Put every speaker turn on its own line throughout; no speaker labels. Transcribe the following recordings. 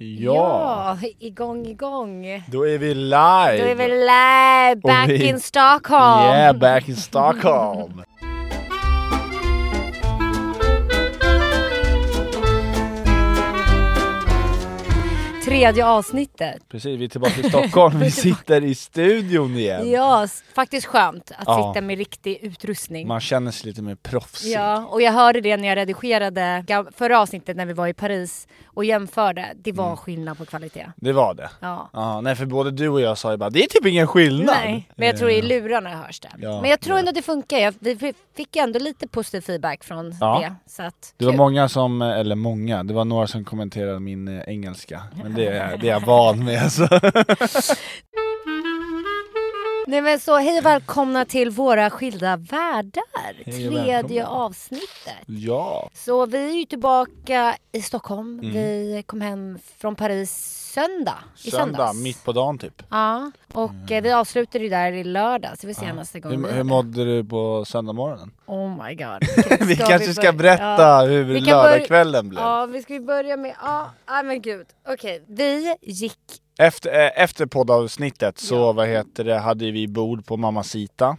Ja.
ja, igång, igång.
Då är vi live!
Då är vi live back
Och vi-
in Stockholm.
Yeah, back in Stockholm!
Tredje avsnittet.
Precis, vi är tillbaka i Stockholm. Vi sitter i studion igen.
Ja, s- faktiskt skönt att
Ehm. Ja.
sitta med riktig utrustning.
Man känner sig lite mer proffsig.
Ja, och jag hörde det när jag redigerade gam- förra avsnittet när vi var i Paris och jämförde. Det
Mm.
var skillnad på kvalitet.
Det var det.
Ja.
Ja, nej för både du och jag sa ju bara det är typ ingen skillnad. Eh,
Nej, men jag tror i lurarna hörs det.
Ja,
men jag tror ändå det funkar. Jag, vi f- fick ändå lite positiv feedback från
Ja.
det. Så att,
Det var
kul.
många som, eller många, det var några som kommenterade min eh, engelska. Men det är, det är jag van med alltså.
Nej men så hej och välkomna till våra skilda världar.
och
Tredje
välkomna.
avsnittet.
Ja.
Så vi är ju tillbaka i Stockholm.
Mm.
Vi kom hem från Paris söndag. I
Söndag,
söndags.
mitt på dagen typ.
Ja, och eh, vi avslutade ju där i lördags. Det var senaste gången
Hur,
vi
hur
hade-
mådde du på söndagsmorgonen?
Oh my god.
Vi kanske ska
börja-
berätta hur
Vi kan börja-
lördagskvällen blev.
Ja, vi ska vi börja med... Ja, nej men gud. Okej, vi gick...
Efter, eh, efter poddavsnittet så vad heter det, hade vi bord på Mamacita.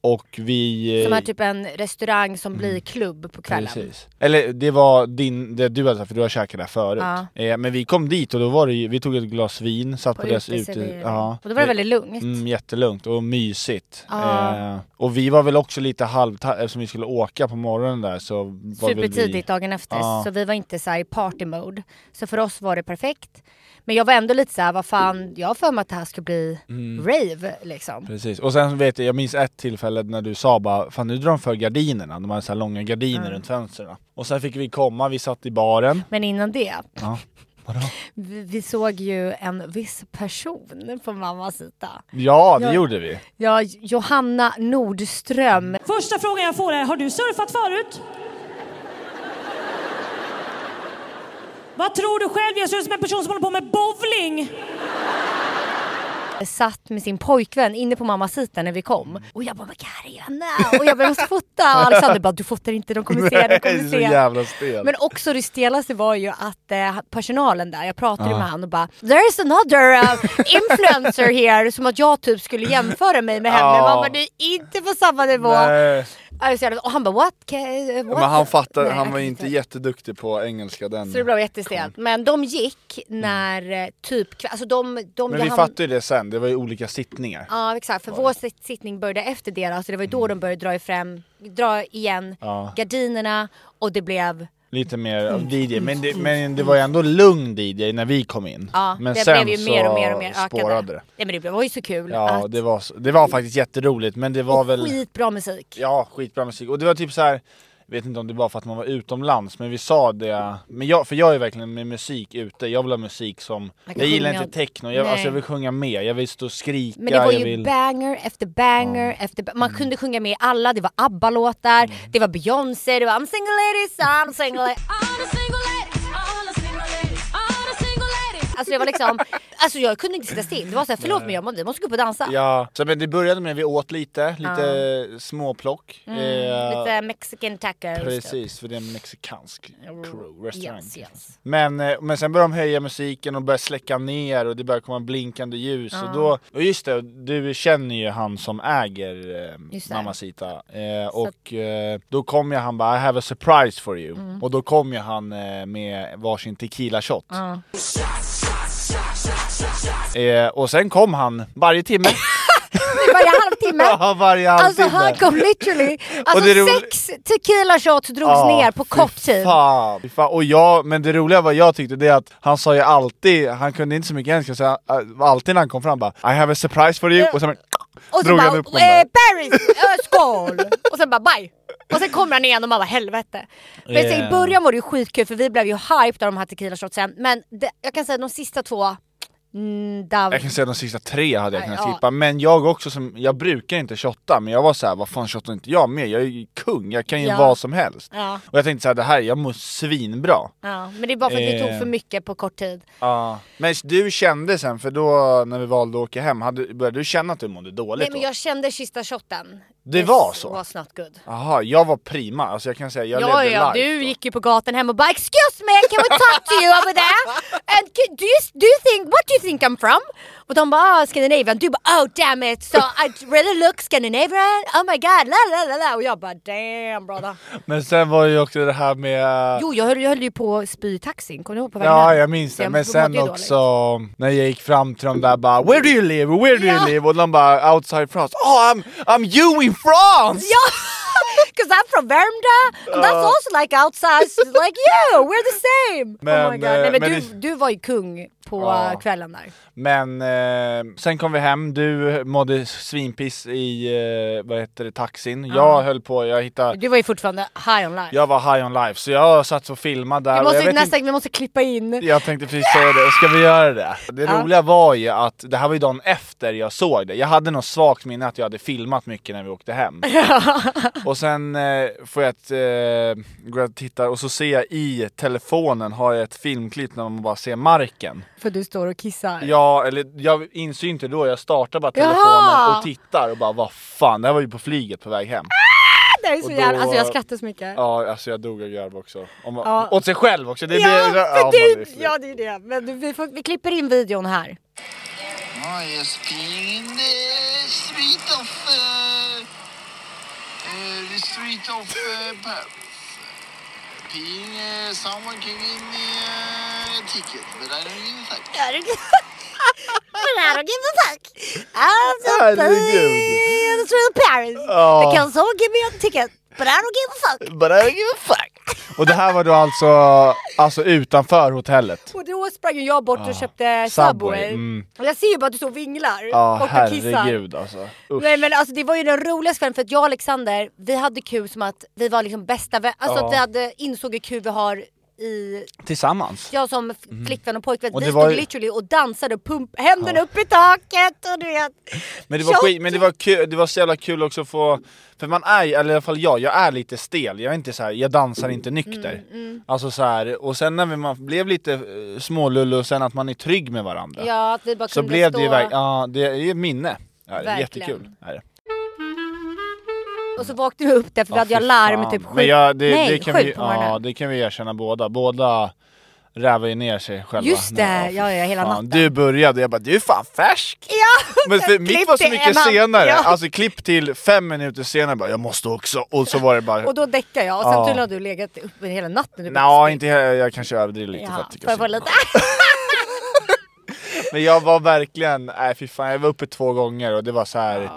Och vi... eh,
Mm. Som är typ en restaurang som blir klubb på kvällen.
Precis. Eller det var din, det du hade för du har käkat där förut.
Ja.
Eh, men vi kom dit och då var det ju, vi tog ett glas vin, satt på,
På
deras ute...
uteservering.
Ja.
Och då var det väldigt lugnt.
Mm, jättelugnt och mysigt.
Ja.
Eh, och vi var väl också lite halvta eftersom vi skulle åka på morgonen där så var väl
Supertidigt
vi...
dagen efter,
Ja.
så vi var inte så här i party mode. Så för oss var det perfekt. Men jag var ändå lite så här, vad fan, jag har för mig att det här ska bli
Mm.
rave liksom.
Precis, och sen vet jag, jag minns ett tillfälle när du sa bara Fan nu drar de för gardinerna, de hade så här långa gardiner
Mm.
runt fönstren Och sen fick vi komma, vi satt i baren
Men innan det,
ja.
vi, vi såg ju en viss person på mammas sida.
ja det
Ja.
gjorde vi!
Ja, Johanna Nordström.
Första frågan jag får är, har du surfat förut? Vad tror du själv? Jag ser ut som en person som håller på med bowling.
satt med sin pojkvän inne på mammas sita när vi kom. Och jag bara, men här är Johanna! Och jag bara, jag måste fota! Och Alexander bara, du fotar inte, de kommer se, de kommer
Nej, så
se.
jävla stel!
Men också det stelaste var ju att eh, personalen där, jag pratade med han och bara “There is another uh, influencer here” som att jag typ skulle jämföra mig med henne.
Ja.
Man bara “Det är inte på samma nivå”.
Nej.
Alltså, och han bara “What?” ca- what?
Men han fattade,
Nej,
han var
jag
inte
kan
jätteduktig på engelska den
Så det blev jättestelt. Men de gick när eh, typ kv- alltså de,
Mm.
de
Men
jag
vi
hann-
fattade ju det sen, det var ju olika sittningar
Ja exakt, för vår sit- sittning började efter deras så det var ju då de började dra, ifrån, dra igen
Mm. Ja.
gardinerna och det blev
Lite mer
Mm.
av DJ, men det, men det var ju ändå lugn DJ när vi kom in.
Ja,
men
det
sen
blev ju
så
mer och mer och mer
spårade
ökade.
det.
Nej men det blev- var ju så kul
Ja,
att
det var, så- det var faktiskt jätteroligt men det var väl...
skitbra musik.
Ja, skitbra musik. Och det var typ så här. jag vet inte om det var för att man var utomlands men vi sa det, men jag, för jag är verkligen med musik ute, jag vill ha musik som,
Man kan
jag gillar
sjunga-
inte techno, jag,
Nej.
alltså jag vill sjunga med, jag vill stå och skrika,
Men det var ju
jag vill... Mm.
banger efter banger efter ba- Man kunde sjunga med i alla, det var ABBA-låtar, det var Beyoncé, det var I'm single ladies, I'm single Ah! lady. Alltså det var liksom, alltså jag kunde inte sitta still. Det var såhär, förlåt men jag må- vi måste gå upp och dansa.
Ja, så men det började med att vi åt lite, lite småplock. eh,
Mm, Lite mexican tacos. typ.
Precis, för det är en mexikansk crew, restaurang.
Yes, yes.
Men, eh, men sen började de höja musiken och började släcka ner och det började komma blinkande ljus och då, och just det, du känner ju han som äger eh,
Just det.
Mamacita eh, och eh, då kom ju han bara I have a surprise for you
Mm.
och då kom ju han eh, med varsin tequila shot. Eh, och sen kom han varje timme,
Varje halvtimme.
Ja, varje
Alltså
halvtimme.
han kom literally, alltså
det är roligt-
sex tequila shots drogs
Ja,
ner på typ.
fy
kort tid.
Fan, fy fan. Och jag, men det roliga vad jag tyckte det är att han sa ju äh, alltid, han kunde inte så mycket engelska så han, alltid när han kom fram bara I have a surprise for you och sen bara,
Och så
drog
bara,
han upp den
eh,
där.
Barry, eh, skål! och sen bara bye! Och sen kommer han igen och man bara helvete. Men sen
Yeah.
i början var det ju skitkul för vi blev ju hyped av de här tequila shotsen. Men det, jag kan säga de sista två, mm, där,
Jag kan säga de sista tre hade jag
Nej,
kunnat
ja.
skippa, men jag också som, jag brukar inte shotta, men jag var så här, vad fan shottar inte jag med? Jag är ju kung, jag kan ju
Ja.
vad som helst.
ja,
Och jag tänkte så här, det här, jag mår svinbra.
ja. Men det är bara för att vi
Eh.
tog för mycket på kort tid.
Ja. Men du kände sen, för då när vi valde att åka hem, hade, började du känna att du mådde dåligt
Nej men
då?
jag kände sista shotten.
Det
This
var så?
was not good.
Aha, jag var prima, alltså jag kan säga, jag
ja,
levde
ja,
life
du
då.
gick ju på gatan hem och bara “excuse me, can we talk to you over there? And can, do, you, do you think, what do you think I'm from?” Och de bara ah, “Scandinavian”, du bara “oh damn it, so I really look Scandinavian, oh my god, la la la la” och jag bara “damn brother”.
Men sen var ju också det här med...
Jo, jag höll, jag höll ju på att spy i taxin, kommer du ihåg på vägen
Ja,
hem?
jag minns
Så
det. Men
mådde ju
sen
dåligt.
också när jag gick fram till dem där bara “Where do you live? Where do
Ja.
you live?” och de bara “Outside France”. “Oh, I'm, I'm you in France!”
Ja! Cause I'm from Värmdö, and that's also like outside, so it's like you, we're the same! oh
Men,
my god. Nej,
eh,
men,
men
du,
det-
du var ju kung på
Ja.
eh, kvällen där.
Men eh, sen kom vi hem, du mådde svinpiss i, eh, vad heter det, taxin. Jag höll på, jag hittade,
Du var ju fortfarande high on life.
jag var high on life så jag satt och filmade där.
Vi
och Alltså, jag
måste,
vet
nästa, vi måste klippa in.
Jag tänkte precis säga det, ska vi göra det? Det roliga var ju att det här var ju dagen efter jag såg det. Jag hade något svagt minne att jag hade filmat mycket när vi åkte hem. och sen eh, får jag ett, eh, går jag och tittar och så ser jag i telefonen har jag ett filmklipp när man bara ser marken.
För du står och kissar.
Ja, eller jag inser ju inte då, jag startar bara telefonen
Jaha!
och tittar och bara vad fan, det här var ju på flyget på väg hem.
Ah! det är så
och då-
jävla... Alltså jag skrattar så mycket.
Ja, alltså jag dog av garv också. Om,
Ja.
Åt sig själv också! Det är
Ja,
det,
för
man
det,
är
är-
fly-
ja, det är det. Men du, vi, får, vi klipper in videon här.
Oh, you're speaking the eh, street of uh, uh, the street of uh, Paris. Being uh, someone can give me uh, a ticket, but I don't give a fuck.
I don't give a fuck. I'm so
Herregud.
It's real Paris.
Ja.
They can so give me a ticket. But I don't give a fuck.
But I don't give a fuck! Och det här var då alltså, alltså utanför hotellet.
Och då sprang ju jag bort och köpte Subway.
Ah, Subway, mm.
Och jag ser ju bara att du står och vinglar.
Ja,
och du kissar.
herregud alltså. Usch.
Nej men alltså det var ju den roligaste kvällen för att jag och Alexander, vi hade kul som att vi var liksom bästa vänner, alltså
Ja.
att vi hade, insåg hur kul vi har i,
Tillsammans.
jag som f- flickvän och pojkvän,
Mm. Och
vi
det
stod
var ju-
literally och dansade och pump, händerna upp i taket och du vet.
Men det var
Shot.
skit, men det var kul, det var så jävla kul också att få, för man är, eller i alla fall jag, jag är lite stel, jag är inte så här, jag dansar inte nykter.
Mm,
Alltså så här, och sen när vi, man blev lite eh, smålullig och sen att man är trygg med varandra.
Ja, att vi bara
så
kunde
blev
stå.
det ju verkligen, ja det är ett minne. Ja, det är
Verkligen.
jättekul. Är det.
Och så vaknade vi upp där för vi
Ja,
hade ju
fy
larm
fan.
typ sju,
Men jag, det,
nej
det kan
sju
vi,
på morgonen.
Ja, det kan vi erkänna båda. Båda rävar ju ner sig själva.
Just det,
Nej,
ja,
fy
ja, hela
fan.
natten.
Du började, jag bara du är fan färsk!
Ja!
Men för mitt
Klipp
var så
till
mycket
en hand.
senare,
Ja.
alltså klipp till fem minuter senare bara jag måste också och så var det bara
Och då däckade jag och sen
Ja.
tydligen har du legat uppe hela natten. Du bara-
Nja, inte jag, jag kanske överdriver lite för
Ja,
att tycka
för att få
synd om
lite...
Men jag var verkligen, nej fy fan, jag var uppe två gånger och det var så här.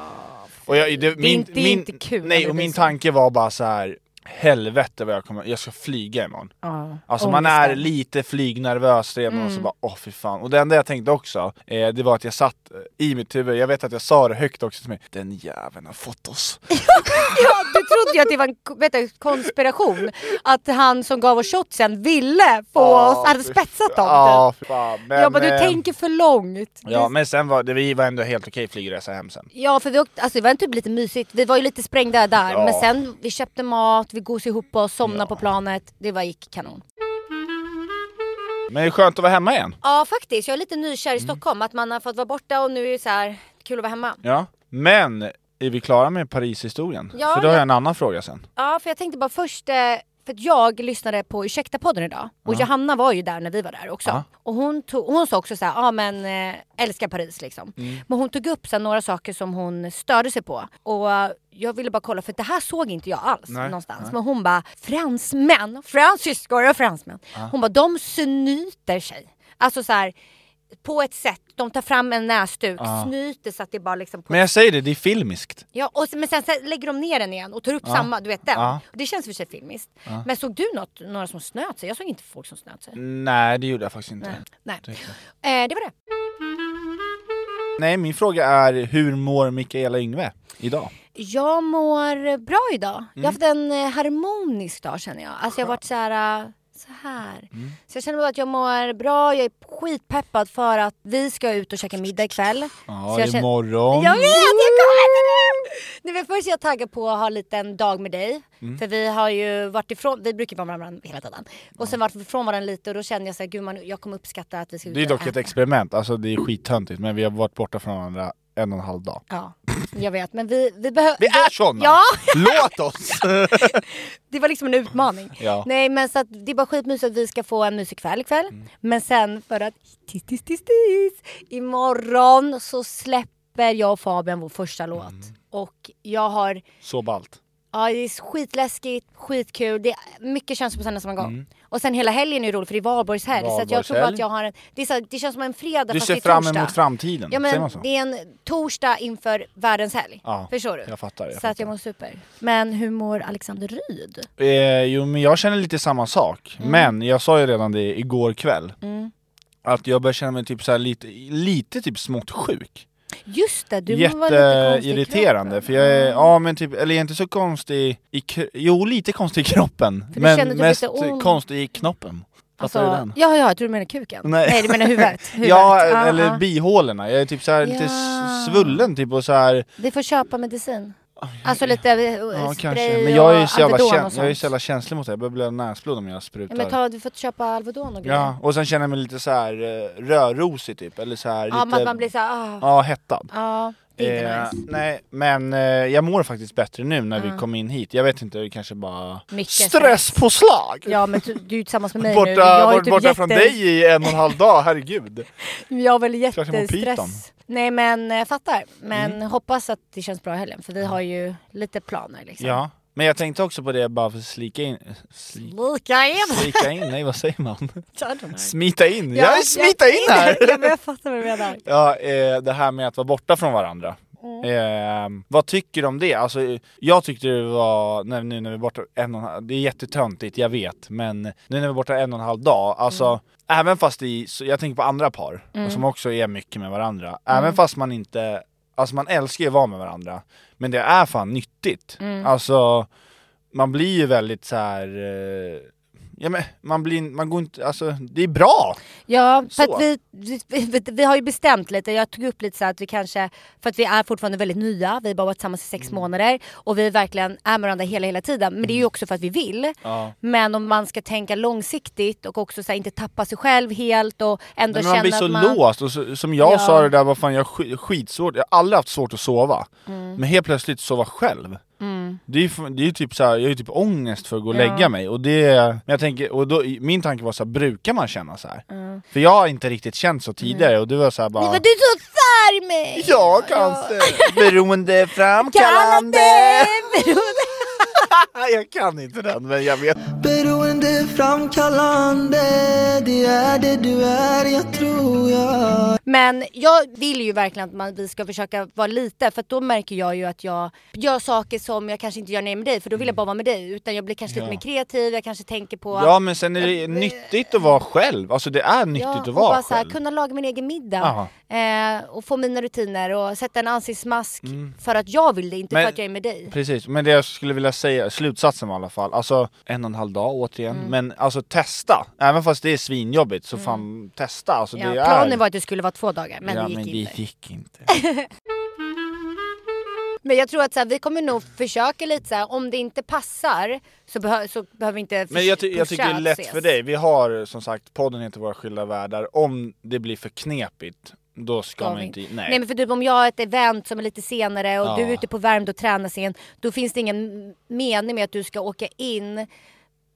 och jag, det, min,
inte- Ah, det är
min,
inte kul när
Nej,
det
och
blir
min
så.
tanke var bara så här. helvete vad jag kommer, jag ska flyga imorgon.
Ja,
Alltså man är
ångesten.
lite flygnervös redan
Mm.
och så bara åh fy fan. Och det enda jag tänkte också, eh, det var att jag satt eh, i mitt huvud, jag vet att jag sa det högt också till mig, den jäveln har fått oss.
Ja, du trodde ju att det var en ko- vet du, konspiration. Att han som gav oss shotsen ville få oss, hade
Ah, fy
spetsat dem.
Ja,
typ.
fy fan. Men,
jag bara, du
eh,
tänker för långt.
Ja
Du-
men sen var det, vi var ändå helt okej flygresa hem sen.
ja för vi åkte, alltså, det var typ lite mysigt. Vi var ju lite sprängda där.
Ja.
Men sen, vi köpte mat, vi gosade ihop oss, somnade på planet. Det var, gick kanon.
Men det är skönt att vara hemma igen.
Ja faktiskt, jag är lite nykär
Mm.
i Stockholm. Att man har fått vara borta och nu är det så här kul att vara hemma.
Ja. Men är vi klara med Parishistorien?
Ja,
För då har
ja.
jag en annan fråga sen.
Ja, för jag tänkte bara först, eh, för att jag lyssnade på Ursäkta-podden idag och Johanna var ju där när vi var där också.
Ja.
Och hon, tog, hon sa också så här, ja men eh, älskar Paris liksom.
Mm.
Men hon tog upp så här, några saker som hon störde sig på. Och eh, jag ville bara kolla, för det här såg inte jag alls
Nej,
någonstans.
nej.
Men hon bara, fransmän, fransyskor och fransmän. Hon bara, de snyter sig. Alltså så här, på ett sätt, de tar fram en näsduk, snyter så att det bara liksom på
Men jag säger det, det är filmiskt.
Ja, och, sen- men sen, sen lägger de ner den igen och tar upp samma, du vet den.
Ja.
Och Det känns för sig filmiskt. Men såg du något, några som snöt sig? Jag såg inte folk som snöt sig.
Nej det gjorde jag faktiskt inte.
Nej. Eh, det var det.
Nej, min fråga är hur mår Mikaela Yngve idag?
Jag mår bra idag. Jag
Mm.
har haft en eh, harmonisk dag känner jag. Alltså jag har varit så här... eh, Så här.
Mm.
Så jag känner bara att jag mår bra, jag är skitpeppad för att vi ska ut och käka middag ikväll. så jag känner-
imorgon.
Jag vet, jag kommer till det! Nej, men först är jag taggad på att ha lite en dag med dig.
Mm.
För vi har ju varit ifrån, vi brukar vara med varandra hela tiden. Och sen varit ifrån varandra lite och då kände jag så här, gud man, jag kommer uppskatta att vi ska ut
Det är
och
dock ett
äta.
experiment, alltså det är skittöntigt men vi har varit borta från varandra en och en halv dag.
Ja, jag vet. Men vi, vi behöver...
Vi är såna!
Ja!
Låt oss!
Det var liksom en utmaning.
Ja.
Nej men så att det är bara skitmysigt att vi ska få en mysig kväll ikväll.
Mm.
Men sen för att tis, tis, tis, tis, imorgon så släpper jag och Fabian vår första låt.
Mm.
Och jag har,
Så ballt.
ja det är skitläskigt, skitkul, det är mycket känslor på samma samma gång. Och sen hela helgen är ju rolig för det är valborgshelg. Så att jag tror
Mm. Valborgshelg.
att jag har en, det, är så, här- det känns som en fredag
Du
fast
ser
det är
fram
torsdag.
emot framtiden,
Ja
säger
men
man så?
det är en torsdag inför världens helg.
Ja,
Förstår du?
jag fattar, jag
så att
fattar.
jag mår super. Men hur mår Alexander Ryd?
Eh, jo men jag känner lite samma sak,
Mm.
men jag sa ju redan det igår kväll Att jag börjar känna mig typ så här lite, lite typ smått sjuk
Just det, du var lite konstig i
Jätteirriterande,
kroppen. Mm.
för jag är, ja men typ, eller jag är inte så konstig i, kro- jo lite konstig i kroppen
du känner
Men
typ
mest
lite ont.
konstig i knoppen Fattar du den?
Ja, ja, jag tror du menar kuken. Nej,
Nej.
du menar huvudet. huvudet.
Ja,
Ah,
eller
ah.
bihålorna. Jag är typ så här lite
Ja.
s- svullen typ och så här.
Vi får köpa medicin. Alltså lite eh,
Ja, kanske.
spray
Men jag är ju
och
så jävla,
Alvedon
käns-
och sånt.
jag är så jävla känslig mot det. Jag börjar blöda näsblod om jag
ja,
sprutar.
men ta, du får köpa Alvedon och grejer.
Ja, och sen känner jag mig lite så här eh, rödrosig typ. Eller så här
Ja,
lite...
man, man blir så här, ah, ja.
Ja, hettad.
det är inte
Eh,
nice.
nej, men eh, jag mår faktiskt bättre nu när vi kom in hit. Jag vet inte, det kanske bara...
Mycket
Stresspåslag!
Ja men du, du är ju tillsammans med mig nu.
eh, Borta,
Jag är
varit
typ
borta
jätte-
från dig i en och en halv dag, herregud.
Jag har väl
jag mår pyton.
jättestress. Nej men eh, fattar. Men
Mm.
hoppas att det känns bra i helgen för vi har ju lite planer liksom.
Ja, men jag tänkte också på det bara för att slika in... Slika
Lika igen!
Slika in, nej vad säger man?
I don't know.
Smita in,
Ja,
jag är smita in här!
Ja, men jag fattar vad du menar.
Ja, eh, det här med att vara borta från varandra. Eh, vad tycker du om det? Alltså, jag tyckte det var, när, nu när vi är borta en och en halv, det är jättetöntigt, jag vet, men nu när vi är borta en och en halv dag, alltså även fast i, så jag tänker på andra par, och som också är mycket med varandra, även fast man inte, alltså man älskar ju att vara med varandra, men det är fan nyttigt. Alltså, man blir ju väldigt så här. Eh, ja men man blir, man går inte, alltså det är bra!
Ja, för
Så.
att vi, vi, vi, vi har ju bestämt lite, jag tog upp lite så här att vi kanske, för att vi är fortfarande väldigt nya, vi har bara varit tillsammans i sex
Mm.
månader och vi verkligen är med varandra hela, hela tiden. Men det är ju också för att vi vill.
Ja.
Men om man ska tänka långsiktigt och också så här, inte tappa sig själv helt och ändå
Men
känna
man blir så
att man...
låst, och så, som jag
Ja.
sa det där, vad fan jag har sk- skitsvårt, jag har aldrig haft svårt att sova
Mm.
Men helt plötsligt sova själv Det är ju f- det är ju typ så här, jag har ju typ ångest för att gå och lägga mig och det, men jag tänker, och då, min tanke var så här, brukar man känna så här? För jag har inte riktigt känt så tidigare och du var så här bara
Mm. Men vad du är så sär mig!
Ja kanske,
Kallande!
beroendeframkallande! jag kan inte den men jag vet
Beroendeframkallande Det är det du är, jag tror jag
Men jag vill ju verkligen att man, vi ska försöka vara lite för att då märker jag ju att jag gör saker som jag kanske inte gör när jag är med dig för då vill jag bara vara med dig utan jag blir kanske lite mer kreativ, jag kanske tänker på
Ja men sen är det nyttigt att vara själv, alltså det är nyttigt
Ja,
att
och
vara
bara så här,
själv
kunna laga min egen middag eh, och få mina rutiner och sätta en ansiktsmask för att jag vill det, inte
Mm. Men-
för att jag är med dig.
Precis, men det jag skulle vilja säga, slutsatsen var i alla fall, alltså en och en halv dag återigen,
Mm.
men alltså testa! Även fast det är svinjobbigt så fan testa, alltså
Ja,
det är...
planen var att det skulle vara två dagar men
ja,
det gick
men
inte.
det gick inte.
Men jag tror att så här, vi kommer nog försöka lite så här, om det inte passar så, behö- så behöver vi inte
Men jag,
förs-
ty- jag tycker det
pusha
är
att
lätt
ses.
för dig, vi har som sagt, podden heter Våra skilda världar, om det blir för knepigt då ska
Ska
man
vi
inte, nej.
Nej men för typ om jag har ett event som är lite senare och
Ja.
du är ute på Värmdö och tränar sen, då finns det ingen mening med att du ska åka in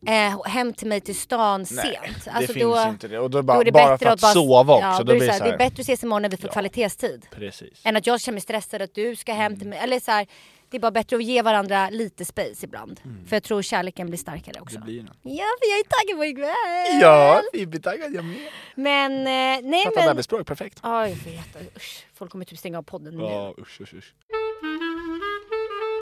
eh, hem till mig till stan
nej,
sent.
det
Alltså,
finns
då,
inte det. Och då
då
bara,
är det
bara
bättre
för att,
bara-
sova också,
ja,
då blir det
så
så
här,
här,
Det är bättre att ses imorgon när vi får
Ja.
kvalitetstid.
Precis.
Än att jag känner mig stressad att du ska hem till
Mm.
mig. Eller så här, det är bara bättre att ge varandra lite space ibland. För jag tror kärleken blir starkare också.
Mm. Det blir något.
Ja, för jag är taggad på ikväll!
Ja, fibertaggad jag med!
Men, eh, nej
Fattar
men...
bebisspråk, perfekt!
Ja, jag vet. Usch, folk kommer typ stänga av podden nu.
Ja, usch usch usch.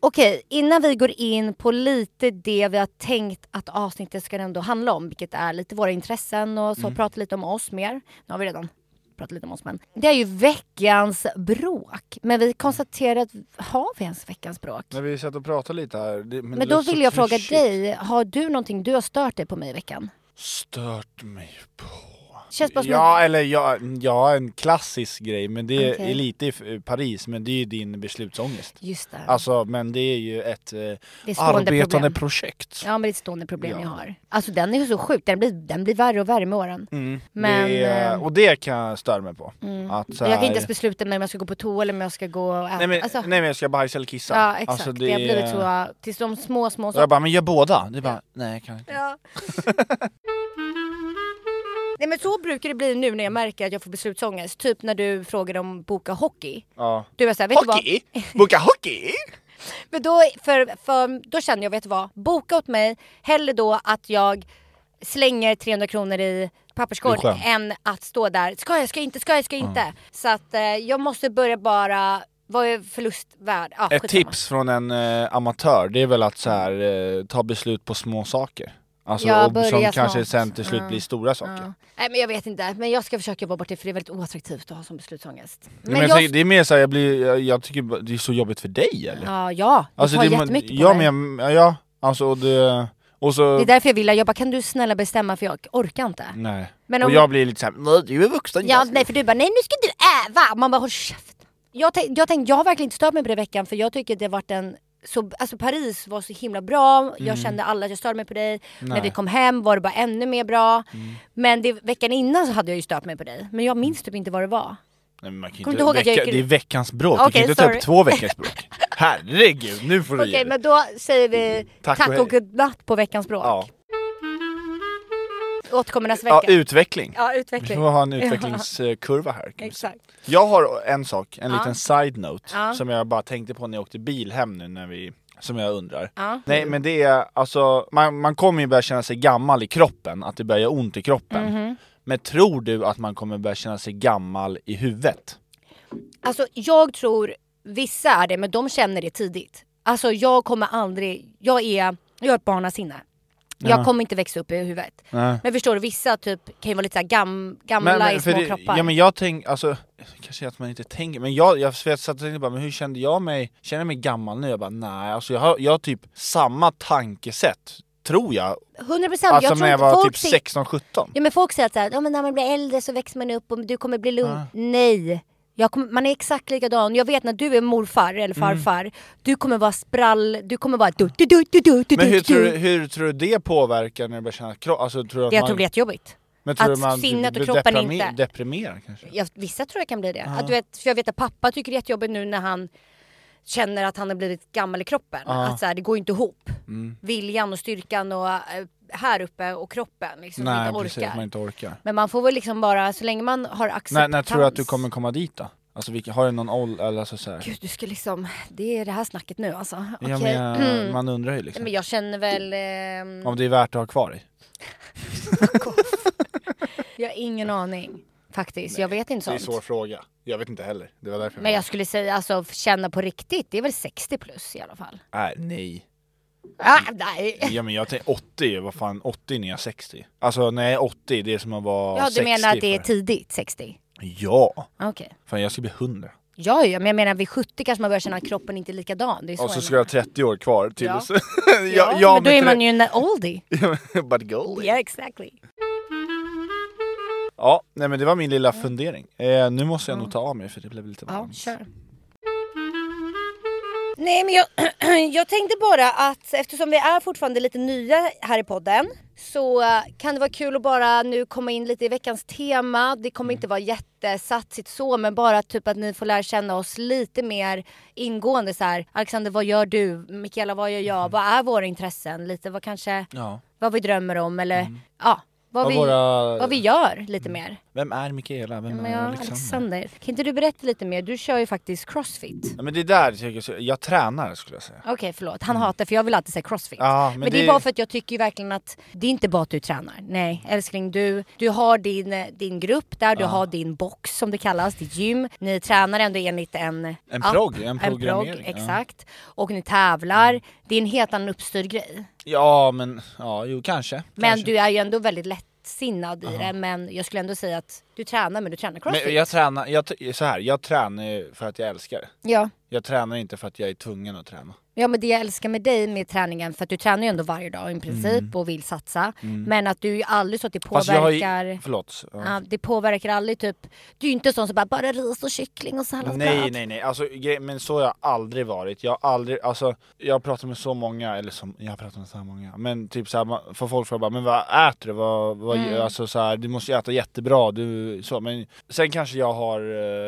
Okej, innan vi går in på lite det vi har tänkt att
Mm.
avsnittet ska ändå handla om, vilket är lite våra intressen och så, prata lite om oss mer. Nu har vi redan prata lite om oss, men det är ju veckans bråk. Men vi konstaterar att har vi ens veckans bråk?
När vi satt och pratade lite här. Det, men det
Men då
låter så
vill jag fråga
klyschigt.
dig, har du någonting du har stört dig på mig i veckan?
Stört mig på...
Känns bara som
Ja, eller ja, ja, en klassisk grej, men det är
Okej.
lite i F- eh, Paris, men det är ju din beslutsångest.
Just det.
Alltså, men det är ju ett eh,
Det är stående
arbetande
problem.
projekt.
Ja men det är ett stående problem
Ja.
jag har. Alltså den är ju så sjuk, den blir, den blir värre och värre med åren. Men
Mm, det är,
eh, Mm.
och det kan jag störa mig på. Att så
jag kan
här-
inte ens besluta mig om jag ska gå på toa eller om jag ska gå och äta.
nej, men,
alltså,
nej men jag ska bajsa eller kissa.
ja exakt,
Alltså,
det, har blivit så, tills de små små
Och jag bara, men gör båda. Det är bara, nej jag kan inte.
Ja. Nej men så brukar det bli nu när jag märker att jag får beslutsångest. Typ när du frågade om boka hockey.
Ja.
Du var såhär, vet du
Hockey? Boka hockey?
vad? Men då, för, för, då känner jag, vet du vad? Boka åt mig, hellre då att jag slänger 300 kronor i
Det är
papperskorgen
skönt.
än att stå där, ska jag, ska jag inte, ska jag, ska
Mm.
jag inte? Så att eh, jag måste börja bara, vad är förlustvärd? Ja,
Ett
skitsamma.
tips från en eh, amatör, det är väl att så här, eh, ta beslut på små saker. Alltså,
Ja,
och, som
börja
kanske
smått.
sen till slut
Ja.
blir stora saker.
Ja. Nej men jag vet inte, men jag ska försöka jobba bort det för det är väldigt oattraktivt att ha som beslutsångest.
Men jag tänker- det är mer såhär, jag, blir- jag, jag tycker bara- det är så jobbigt för dig eller?
Ja, ja. Det
Alltså,
tar
det, må-
jättemycket på
ja,
mig.
men, jag- ja, alltså och det... Och så...
Det är därför jag vill, jag bara kan du snälla bestämma för jag orkar inte.
nej.
Men
och
om-
jag blir lite såhär, du är vuxen.
Ja,
jag ska-"
nej för du bara, nej nu ska du öva! Man bara håll käften. Jag, tänk, jag tänkte, jag har verkligen inte stört mig på det i veckan för jag tycker det har varit en så, alltså Paris var så himla bra,
Mm.
jag kände alla att jag störde mig på dig. När vi kom hem var det bara ännu mer bra.
Mm.
Men det, veckan innan så hade jag ju stört mig på dig. Men jag minns typ inte vad det var.
Nej, men man kan ju
Kommer
inte,
du ihåg att
vecka,
jag gick-
Det är veckans bråk, du
Okej,
kan ju inte ta
sorry.
upp två veckans bråk. Herregud, nu får du
Okej
ge dig.
men då säger vi
Tack
tack,
och hej.
och godnatt på veckans bråk.
Ja.
Återkommer nästa
ja,
vecka.
utveckling.
ja
Vi
utveckling.
får ha en utvecklingskurva här. kan vi säga.
Exakt.
Jag har en sak, en liten side-note,
Ja.
som jag bara tänkte på när jag åkte bil hem nu när vi som jag undrar.
Ja.
Nej men det är alltså, man, man kommer ju börja känna sig gammal i kroppen, att det börjar göra ont i kroppen.
Mhm.
Men tror du att man kommer börja känna sig gammal i huvudet?
Alltså jag tror vissa är det, men de känner det tidigt. Alltså jag kommer aldrig, jag är, jag har ett barnasinne. Jag kommer inte växa upp i huvudet.
Nej.
Men förstår du, vissa typ kan ju vara lite så här gam, gamla
Men, men,
i
för
små
det,
kroppar.
ja men jag tänker, alltså, kanske att man inte tänker, men jag, jag satt och tänkte bara, men hur kände jag mig, känner jag mig gammal nu? Jag bara nej, alltså jag har, jag har typ samma tankesätt, tror jag,
100 procent.
alltså
jag tror
när jag
inte
var
folk
typ
ser-
16-17.
Ja men folk säger att så här, ja, men när man blir äldre så växer man upp och du kommer bli lugn. Nej. Jag kommer, man är exakt likadan. Jag vet när du är morfar eller
Mm.
farfar, du kommer vara sprall, du kommer vara du, du, du, du, du, du,
Men hur
du,
tror, du,
du.
hur tror du det påverkar när du börjar känna kropp? Alltså, tror du att
Jag
man,
tror det är jättejobbigt.
men tror du
att
man
sinnet och
blir
kroppen
deprime-
inte-
Deprimerad kanske?
jag, vissa tror jag kan bli det. Att du vet, för jag vet att pappa tycker det är jättejobbigt nu när han känner att han har blivit gammal i kroppen. Att så här, det går inte ihop.
Mm.
Viljan och styrkan och eh, här uppe och kroppen liksom som
nej
inte
precis,
orkar.
man inte orkar.
Men man får väl liksom bara, så länge man har
När,
acceptans.
när tror du att du kommer komma dit då? Alltså vilka, har du någon ålder, eller alltså såhär?
Gud du ska liksom, det är det här snacket nu alltså. Okej. Mm.
Ja, men jag, Man undrar ju liksom.
Men jag känner väl, ehm,
Om det är värt att ha kvar dig.
jag har ingen aning faktiskt. jag vet inte
Det är en
sånt.
svår fråga. Jag vet inte heller. Det var därför
Men jag skulle säga alltså känna på riktigt, det är väl 60 plus i alla fall.
Nej, nej.
Ah, nej.
Ja men jag tänkte 80, vad fan 80 när jag är 60. Alltså när jag är 80, det är som att vara
Ja,
60
du menar att det är
för-
tidigt 60?
Ja!
Okej.
Fan jag ska bli 100.
Ja, ja, men jag menar vid 70 kanske man börjar känna att kroppen inte är likadan. Det är så
Och så
jag
ska jag ha 30 år kvar till.
Ja.
ja,
menar. ja, men då är man ju en oldie.
But goalie.
yeah, exactly.
Ja, nej men det var min lilla fundering. Eh, nu måste jag nog ta av mig för det blev lite
Ja,
varmt.
kör. Nej, men jag, jag tänkte bara att eftersom vi är fortfarande lite nya här i podden så eh, kan det vara kul att bara nu komma in lite i veckans tema. Det
Mm.
kommer inte vara jättesatsigt så, men bara typ att ni får lära känna oss lite mer ingående så här. Alexander, vad gör du? Mikaela, vad gör jag? Vad är våra intressen? Lite vad kanske,
Mm. Ja. Mm.
vad vi drömmer om eller ja, vad,
Vad
vi,
våra- Mm.
vad vi gör lite mer.
Vem är Mikaela? Vem
Men
är
ja,
Alexander?
Alexander, kan inte du berätta lite mer? Du kör ju faktiskt crossfit.
Ja, men det där tycker jag, så- jag tränar skulle jag säga.
Okej förlåt, han hatar för jag vill alltid säga crossfit.
Ja, men
men, det
det-
är bara för att jag tycker ju verkligen att det är inte bara att du tränar. Nej älskling, du, du har din, eh, din grupp där, du har din box som det kallas, ditt gym. Ni tränar ändå enligt en
En
app,
progg, en programmering,
progg,
ja. Mm.
exakt. Och ni tävlar. Det är en helt annan uppstyrd grej.
Ja men, ja jo kanske.
Men
kanske.
du är ju ändå väldigt lättsinnad i det. Men jag skulle ändå säga att Du tränar men du tränar crossfit.
Men jag tränar, jag, t- så här, jag tränar ju för att jag älskar det.
Ja.
Jag tränar inte för att jag är tvungen att träna.
ja, men det jag älskar med dig med träningen, för att du tränar ju ändå varje dag i princip och vill satsa. Men att du är ju aldrig så att det
Mm. Fast jag har ju-
påverkar...
Förlåt. Ja.
Ja, det påverkar aldrig typ, du är ju inte sån som bara, bara ris och kyckling och salladsblad.
Nej nej nej, alltså, grej- men så har jag aldrig varit. Jag har aldrig, alltså jag har pratat med så många, eller som, jag har pratat med så här många, men typ såhär, för folk frågar bara men vad äter du? Vad, vad,
Mm.
Alltså så här, du måste ju äta jättebra, du, så, men sen kanske jag har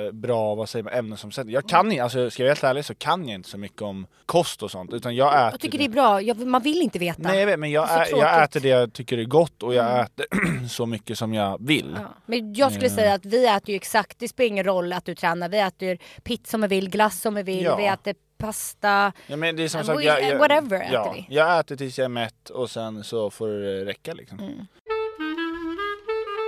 eh, bra, vad säger man, ämnesomsättning. Jag kan inte, alltså ska jag vara helt ärlig så kan jag inte så mycket om kost och sånt, utan jag äter
Jag tycker det är bra, jag, man vill inte veta.
Nej jag vet, men jag,
Det är så
ä, jag
tråkigt. Mm.
äter det jag tycker är gott och jag äter så mycket som jag vill.
Ja. Men jag skulle säga att vi äter ju exakt, det spelar ingen roll att du tränar, vi äter pizza om vi vill, glass om vi vill,
Ja.
vi äter pasta.
Ja, men det är som
Eh,
sagt,
we-
jag, jag,
whatever
ja,
äter vi.
Jag äter tills jag är mätt och sen så får det räcka liksom.
Mm.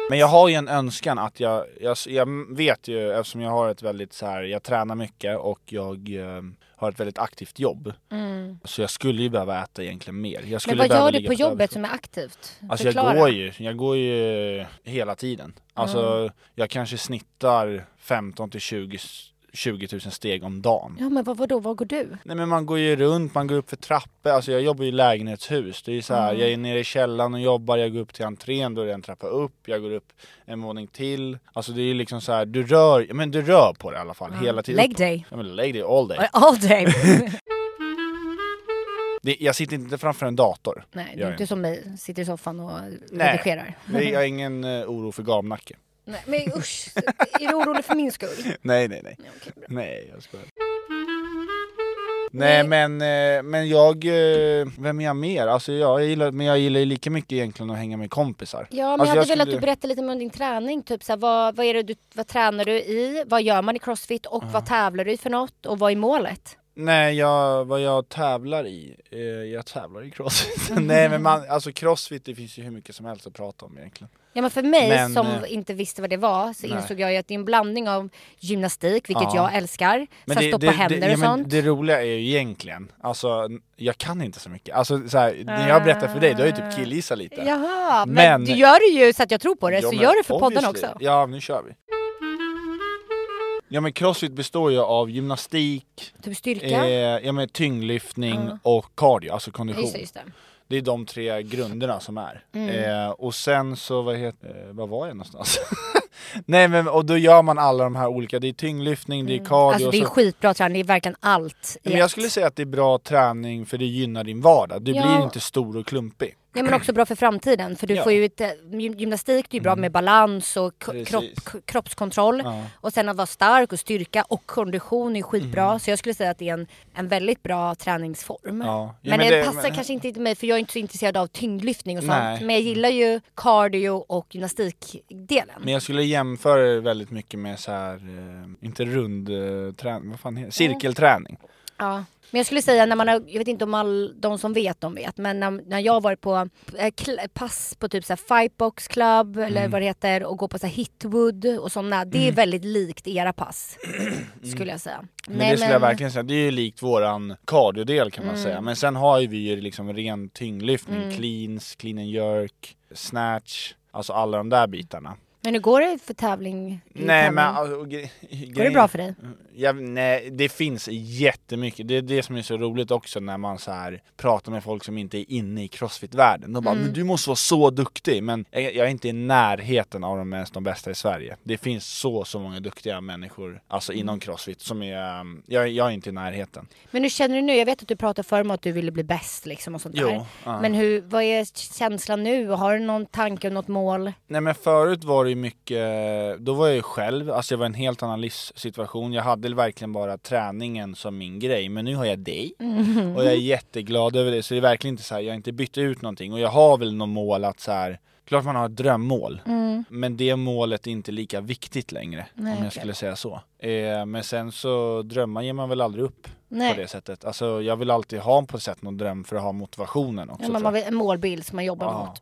Men jag har ju en önskan att jag, jag, jag vet ju eftersom jag har ett väldigt så här, jag tränar mycket och jag eh, har ett väldigt aktivt jobb. Så jag skulle ju behöva äta egentligen mer. Jag skulle
Mm. Men vad
behöva
gör du
ligga
på jobbet
överskott.
som är aktivt?
Alltså jag
Förklara.
går ju, jag går ju hela tiden. Alltså
Mm.
jag kanske snittar 15 till 20, 20 000 steg om dagen.
Ja men vad, vadå, vad går du?
Nej men man går ju runt, man går upp för trappor, alltså jag jobbar ju i lägenhetshus. Det är ju så
Mm.
här, jag är nere i källaren och jobbar, jag går upp till entrén, då är det en trappa upp, jag går upp en våning till. Alltså det är ju liksom så här, du rör, men du rör på det i alla fall hela tiden.
Leg day.
Ja men leg day all day.
All day.
Det, jag sitter inte framför en dator.
Nej, du
Gör
är
jag
inte som mig, sitter i soffan och
Nej.
redigerar.
Nej, Jag har ingen eh, oro för gamnacke.
Nej, men usch, är du orolig för min skull?
Nej nej nej.
Ja, okej, bra.
Nej, jag skojar. Nej men, eh, men jag, eh, vem är jag mer? Alltså jag, jag gillar, men jag gillar ju lika mycket egentligen att hänga med kompisar.
Ja, men
alltså,
jag hade velat att
skulle-
du berättade lite mer om din träning. Typ så här, vad, vad, är det du, vad tränar du i? Vad gör man i crossfit? Och vad tävlar du i för något? Och vad är målet?
Nej, jag, vad jag tävlar i? Eh, jag tävlar i crossfit.
Mm.
Nej men man, alltså crossfit det finns ju hur mycket som helst att prata om egentligen.
Ja, men för mig
Men,
som
eh,
inte visste vad det var så
nej.
insåg jag ju att det är en blandning av gymnastik, vilket
Ja.
jag älskar, så här,
det,
stoppa
det,
händer
det, ja,
och
men
sånt.
det roliga är ju egentligen, alltså n- jag kan inte så mycket. Alltså så här, när jag berättar för dig, du har ju
Eh,
typ killgissat lite.
Jaha, men,
Men-
du gör det ju så att jag tror på det,
Ja,
så
men
gör det för podden
obviously.
också.
Ja, nu kör vi. Ja men crossfit består ju av gymnastik,
Typ
eh,
styrka.
ja, men tyngdlyftning och cardio, alltså kondition.
Just det, just det.
Det är de tre grunderna som är.
Mm.
Eh, och sen så, vad, heter, eh, vad var jag någonstans? Nej men och då gör man alla de här olika, det är tyngdlyftning, det är cardio
Alltså det är
och så.
skitbra träning, det är verkligen allt. i
Men jag
ett.
skulle säga att det är bra träning för det gynnar din vardag, du
Ja.
blir inte stor och klumpig.
Ja, men också bra för framtiden. För du
Ja. Mm.
får ju ett, eh, gy- gymnastik, det är ju bra med balans och k-
Precis.
kropp, k- kroppskontroll. Och sen att vara stark och styrka och kondition är skitbra. Så jag skulle säga att det är en, en väldigt bra träningsform.
Mm. Ja. Ja,
men,
men
det,
det-
passar
men-
kanske inte till mig för jag är inte så intresserad av tyngdlyftning och sånt.
Nej. Mm.
Men jag gillar ju cardio och gymnastikdelen.
Men jag skulle jämföra det väldigt mycket med så här, eh, inte rundträning, vad fan heter det? Cirkelträning.
Ja. Men jag skulle säga när man har, jag vet inte om all, de som vet de vet, men när, när jag har varit på eh, kl- pass på typ så här Fightbox Club
Mm.
eller vad det heter och gå på så här Hitwood och sådana, det är väldigt likt era pass skulle jag säga.
Mm. Men det skulle jag verkligen säga, det är ju likt våran cardiodel kan
Mm.
man säga. Men sen har ju vi ju liksom ren tyngdlyftning, cleans, clean and jerk, snatch, alltså alla de där bitarna.
Men hur går det för tävling? i
Nej
tävling?
men alltså, och gre- Mm,
Går det bra för dig?
Jag, nej, det finns jättemycket. Det är det som är så roligt också när man så här pratar med folk som inte är inne i crossfit-världen. De bara
Mm.
men du måste vara så duktig” men jag, jag är inte i närheten av de ens de bästa i Sverige. Det finns så, så många duktiga människor
Mm.
alltså inom crossfit som är, um, jag, jag är inte i närheten.
Men hur känner du nu? Jag vet att du pratade förr om att du ville bli bäst liksom och sånt
Jo,
där.
ja.
Men hur, vad är känslan nu? Har du någon tanke och något mål?
Nej men förut var det ju mycket, då var jag ju själv, alltså jag var i en helt annan livssituation. Jag hade verkligen bara träningen som min grej, men nu har jag dig.
Mm.
Och jag är jätteglad över det, så det är verkligen inte så här, jag har inte bytt ut någonting. Och jag har väl något mål att så här, klart man har ett drömmål.
Mm.
Men det målet är inte lika viktigt längre, om jag skulle säga så. Eh, men sen så, drömmar ger man väl aldrig upp
Nej.
på det sättet. Alltså jag vill alltid ha på ett sätt någon dröm för att ha motivationen också.
Ja,
tror
men
jag.
man vill, en målbild som man jobbar mot.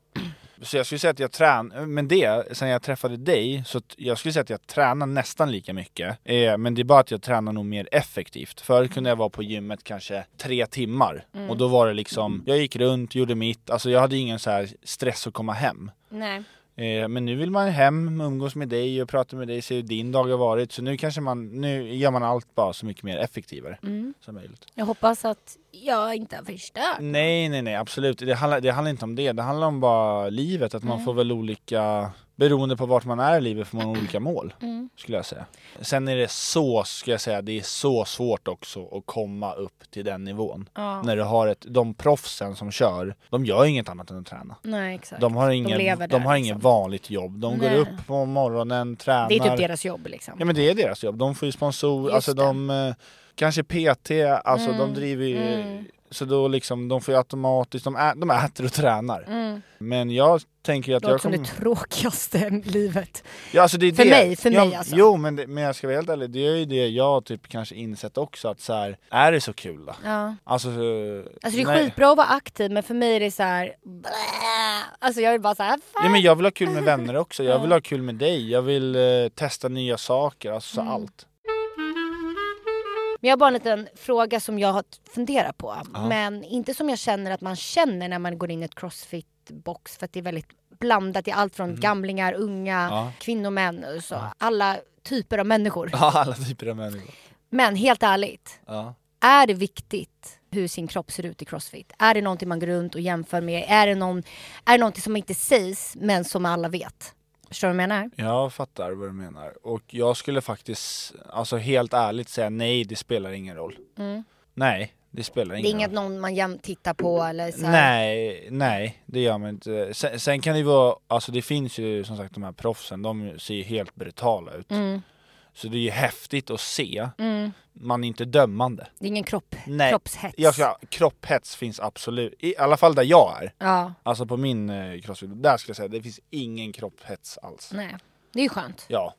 Så jag skulle säga att jag tränar, men det, sen jag träffade dig, så t- jag skulle säga att jag tränar nästan lika mycket. Eh, men det är bara att jag tränar nog mer effektivt. Förut kunde jag vara på gymmet kanske tre timmar. Och då var det liksom, jag gick runt, gjorde mitt, alltså jag hade ingen så här stress att komma hem.
Nej.
Eh, Eh, Men nu vill man hem, umgås med dig och prata med dig, se hur din dag har varit. Så nu kanske man, nu gör man allt bara så mycket mer effektivare som möjligt.
Jag hoppas att jag inte har förstört.
Nej, nej, nej, absolut. Det handlar, det handlar inte om det. Det handlar om bara livet, att man får väl olika, beroende på vart man är i livet får man olika mål,
Mm.
skulle jag säga. Sen är det så, ska jag säga, det är så svårt också att komma upp till den nivån. När du har ett, de proffsen som kör, de gör inget annat än att träna.
Nej, exakt.
De har ingen, de
lever där,
har ingen
liksom.
vanligt jobb. De går
Nej.
upp på morgonen, tränar.
Det är typ deras jobb liksom.
Ja men det är deras jobb. De får ju sponsor,
Just
alltså
det. Mm,
de eh, kanske PT, alltså de driver ju Så då liksom, de får ju automatiskt, de, ä, de äter och tränar. Men jag tänker ju att
det Mm. låter
jag
som
kommer...
det tråkigaste i livet.
ja, alltså det är
för
det.
mig- för
ja,
mig alltså.
Jo men, det, men jag ska vara helt ärlig, det är ju det jag typ kanske insett också att så här, är det så kul då?
Ja.
Alltså,
Alltså det är
nej.
skitbra att vara aktiv men för mig är det så här. blä. Alltså jag är bara så här.
Ja, men jag vill ha kul med vänner också, jag vill ha kul med dig, jag vill eh, testa nya saker, alltså
Mm.
så allt.
Men jag har bara en liten fråga som jag har funderat på. Men inte som jag känner att man känner när man går in i ett crossfit-box. För att det är väldigt blandat. Det är allt från gamlingar, unga,
Mm. Ja.
kvinnor, män. och Så. Alla typer av människor.
Ja, alla typer av människor.
Men helt ärligt,
Ja.
är det viktigt hur sin kropp ser ut i crossfit? Är det någonting man går runt och jämför med? Är det, någon, är det någonting som inte sägs men som alla vet? Förstår du vad jag menar?
Jag fattar vad du menar. Och jag skulle faktiskt, alltså helt ärligt säga nej, det spelar ingen roll. Nej, det spelar
Mm. Det är
ingen
inget
roll.
någon man jäm- tittar på eller så här.
Nej, nej, det gör man inte. Sen, sen kan det ju vara, alltså det finns ju som sagt de här proffsen, de ser ju helt brutala ut.
Mm.
Så det är ju häftigt att se. Man är inte dömande.
Det är ingen kropp,
Nej.
Mm. kroppshets.
Jag ska, kropphets finns absolut, i alla fall där jag är.
Ja,
Alltså på min eh, crossfit, där skulle jag säga det finns ingen kropphets alls.
nej. Det är ju skönt.
Ja.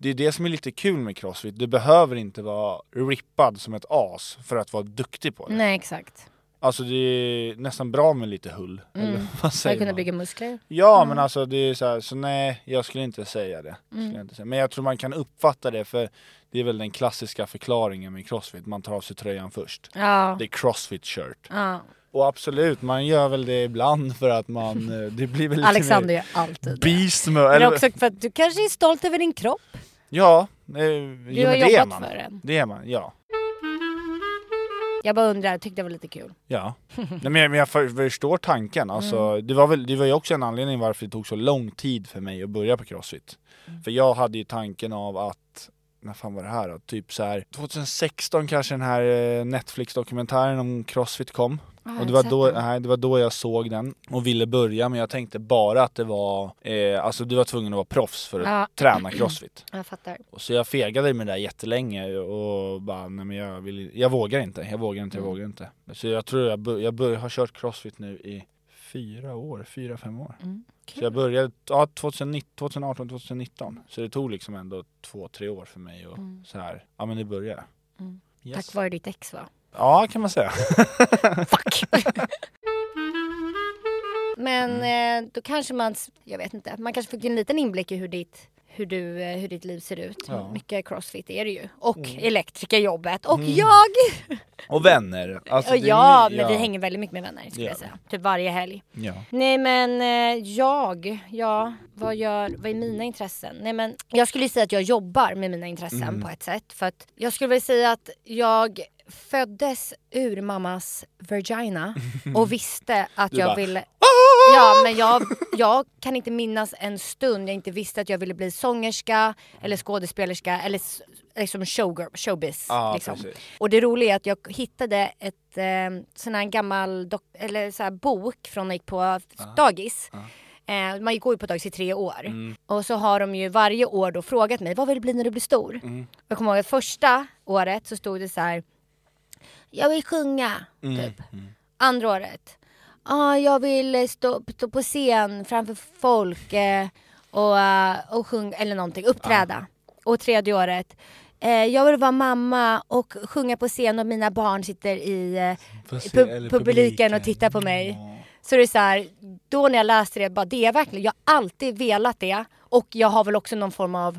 Det är det som är lite kul med crossfit. Du behöver inte vara rippad som ett as för att vara duktig på det.
Nej exakt.
Alltså det är nästan bra med lite hull. Eller vad
För att
säger
kunna
man?
Mm. bygga Mm. muskler.
Ja men alltså det är så här, så nej jag skulle inte säga det.
Mm.
Skulle jag inte säga. Men jag tror man kan uppfatta det för det är väl den klassiska förklaringen med crossfit. Man tar av sig tröjan först.
Ja.
Det är crossfit shirt.
ja.
Och absolut, man gör väl det ibland för att man, eh, det blir väl lite
Alexander
mer
gör alltid det.
beast mode.
Men
eller-
också för att du kanske är stolt över din kropp.
Ja, eh, jo, men
har
det är
jobbat
man.
för den.
Det är man, ja.
Jag bara undrar, tyckte det var lite kul.
Ja. Nej, men jag, men jag för- förstår tanken. Alltså,
Mm.
det, var väl, det var ju också en anledning varför det tog så lång tid för mig att börja på crossfit.
Mm.
För jag hade ju tanken av att, när fan var det här då? Typ så här 2016 kanske den här eh, Netflix-dokumentären om crossfit kom.
jag
och
har
det var,
inte
då,
sett den.
nej, det var då jag såg den och ville börja men jag tänkte bara att det var, eh, alltså du var tvungen att vara proffs för att
Ja.
träna crossfit.
Jag fattar.
Och Så jag fegade med det där jättelänge och bara nej men jag, vill, jag vågar inte, jag vågar inte, jag
Mm.
vågar inte. Så jag tror jag, bör, jag bör, har kört crossfit nu i fyra år, fyra, fem år.
Mm,
Så jag började ja, 2019, 2018, 2019. Så det tog liksom ändå två, tre år för mig och så här, ja men det började. Mm.
Mm. Tack vare ditt ex va?
Ja kan man säga.
Fuck! Men
Mm.
eh, då kanske man, s- jag vet inte, man kanske fick en liten inblick i hur ditt, hur du, eh, hur ditt liv ser ut.
Ja. Mm.
Mycket crossfit är det ju. Och elektrikerjobbet. Och jag!
Och vänner. Alltså,
och
Mm. det är
ja,
my-
men vi hänger väldigt mycket med vänner skulle
Ja.
jag säga. Typ varje helg.
Ja.
Nej men eh, jag, ja vad, gör, vad är mina intressen? Nej men jag skulle ju säga att jag jobbar med mina intressen
Mm.
på ett sätt. För att jag skulle väl säga att jag föddes ur mammas vagina och visste att
Du
jag
bara,
ville... Ja men jag, jag kan inte minnas en stund jag inte visste att jag ville bli sångerska eller skådespelerska eller s- liksom showgirl, showbiz.
Ja,
liksom.
precis.
Och det roliga är att jag hittade ett eh, sån här gammal dok- eller så här bok från när jag gick på
Ah.
dagis. Eh, man går ju på dagis i tre år.
Mm.
Och så har de ju varje år då frågat mig, vad vill du bli när du blir stor?
Mm.
Jag kommer ihåg att första året så stod det så här, jag vill sjunga,
Mm.
typ. Andra året, ah, jag vill eh, stå, stå på scen framför folk eh, och, eh, och sjunga, eller någonting, uppträda. Och tredje året, eh, jag vill vara mamma och sjunga på scen och mina barn sitter i eh,
På scen-
pu-
eller
publiken och
publiken.
tittar på mig. Så det är så här, då när jag läste det, bara, det är verkligen, jag har alltid velat det. Och jag har väl också någon form av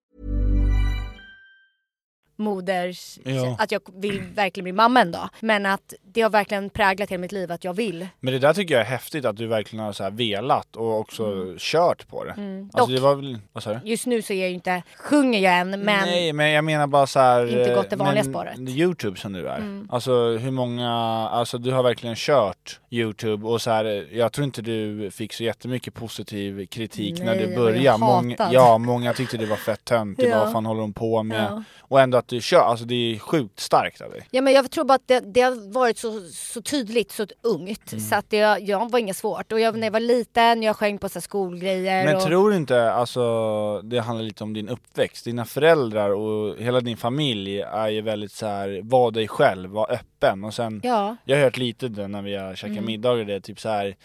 moders...
Ja.
Att jag vill verkligen bli mamma en dag. Men att det har verkligen präglat hela mitt liv att jag vill.
Men det där tycker jag är häftigt att du verkligen har så här velat och också
Mm.
kört på det. Alltså
Dock-
det var väl, vad sa du?
Just nu så är jag ju inte, sjunger jag än men
Nej men jag menar bara så här,
Inte gått det
eh,
vanliga
men
spåret. Mm.
Youtube som du är. Alltså hur många, alltså du har verkligen kört Youtube och så här, eh, jag tror inte du fick så jättemycket positiv kritik när
Nej,
du
jag var ju
började. Mång,
hatad.
ja, många tyckte det var fett töntigt,
Ja.
vad fan håller de på med? Och ändå att du kör, alltså det är sjukt starkt av dig.
Ja men jag tror bara att det, det har varit så, så tydligt, så ungt.
Mm.
Så att det jag var inget svårt. Och jag, när jag var liten, jag sjöng på så här skolgrejer.
Men
och,
tror du inte, alltså det handlar lite om din uppväxt, dina föräldrar och hela din familj är ju väldigt så här, var dig själv, var öppen och sen
Ja. Mm.
Jag har hört lite det när vi har käkat middagar, det är typ så här.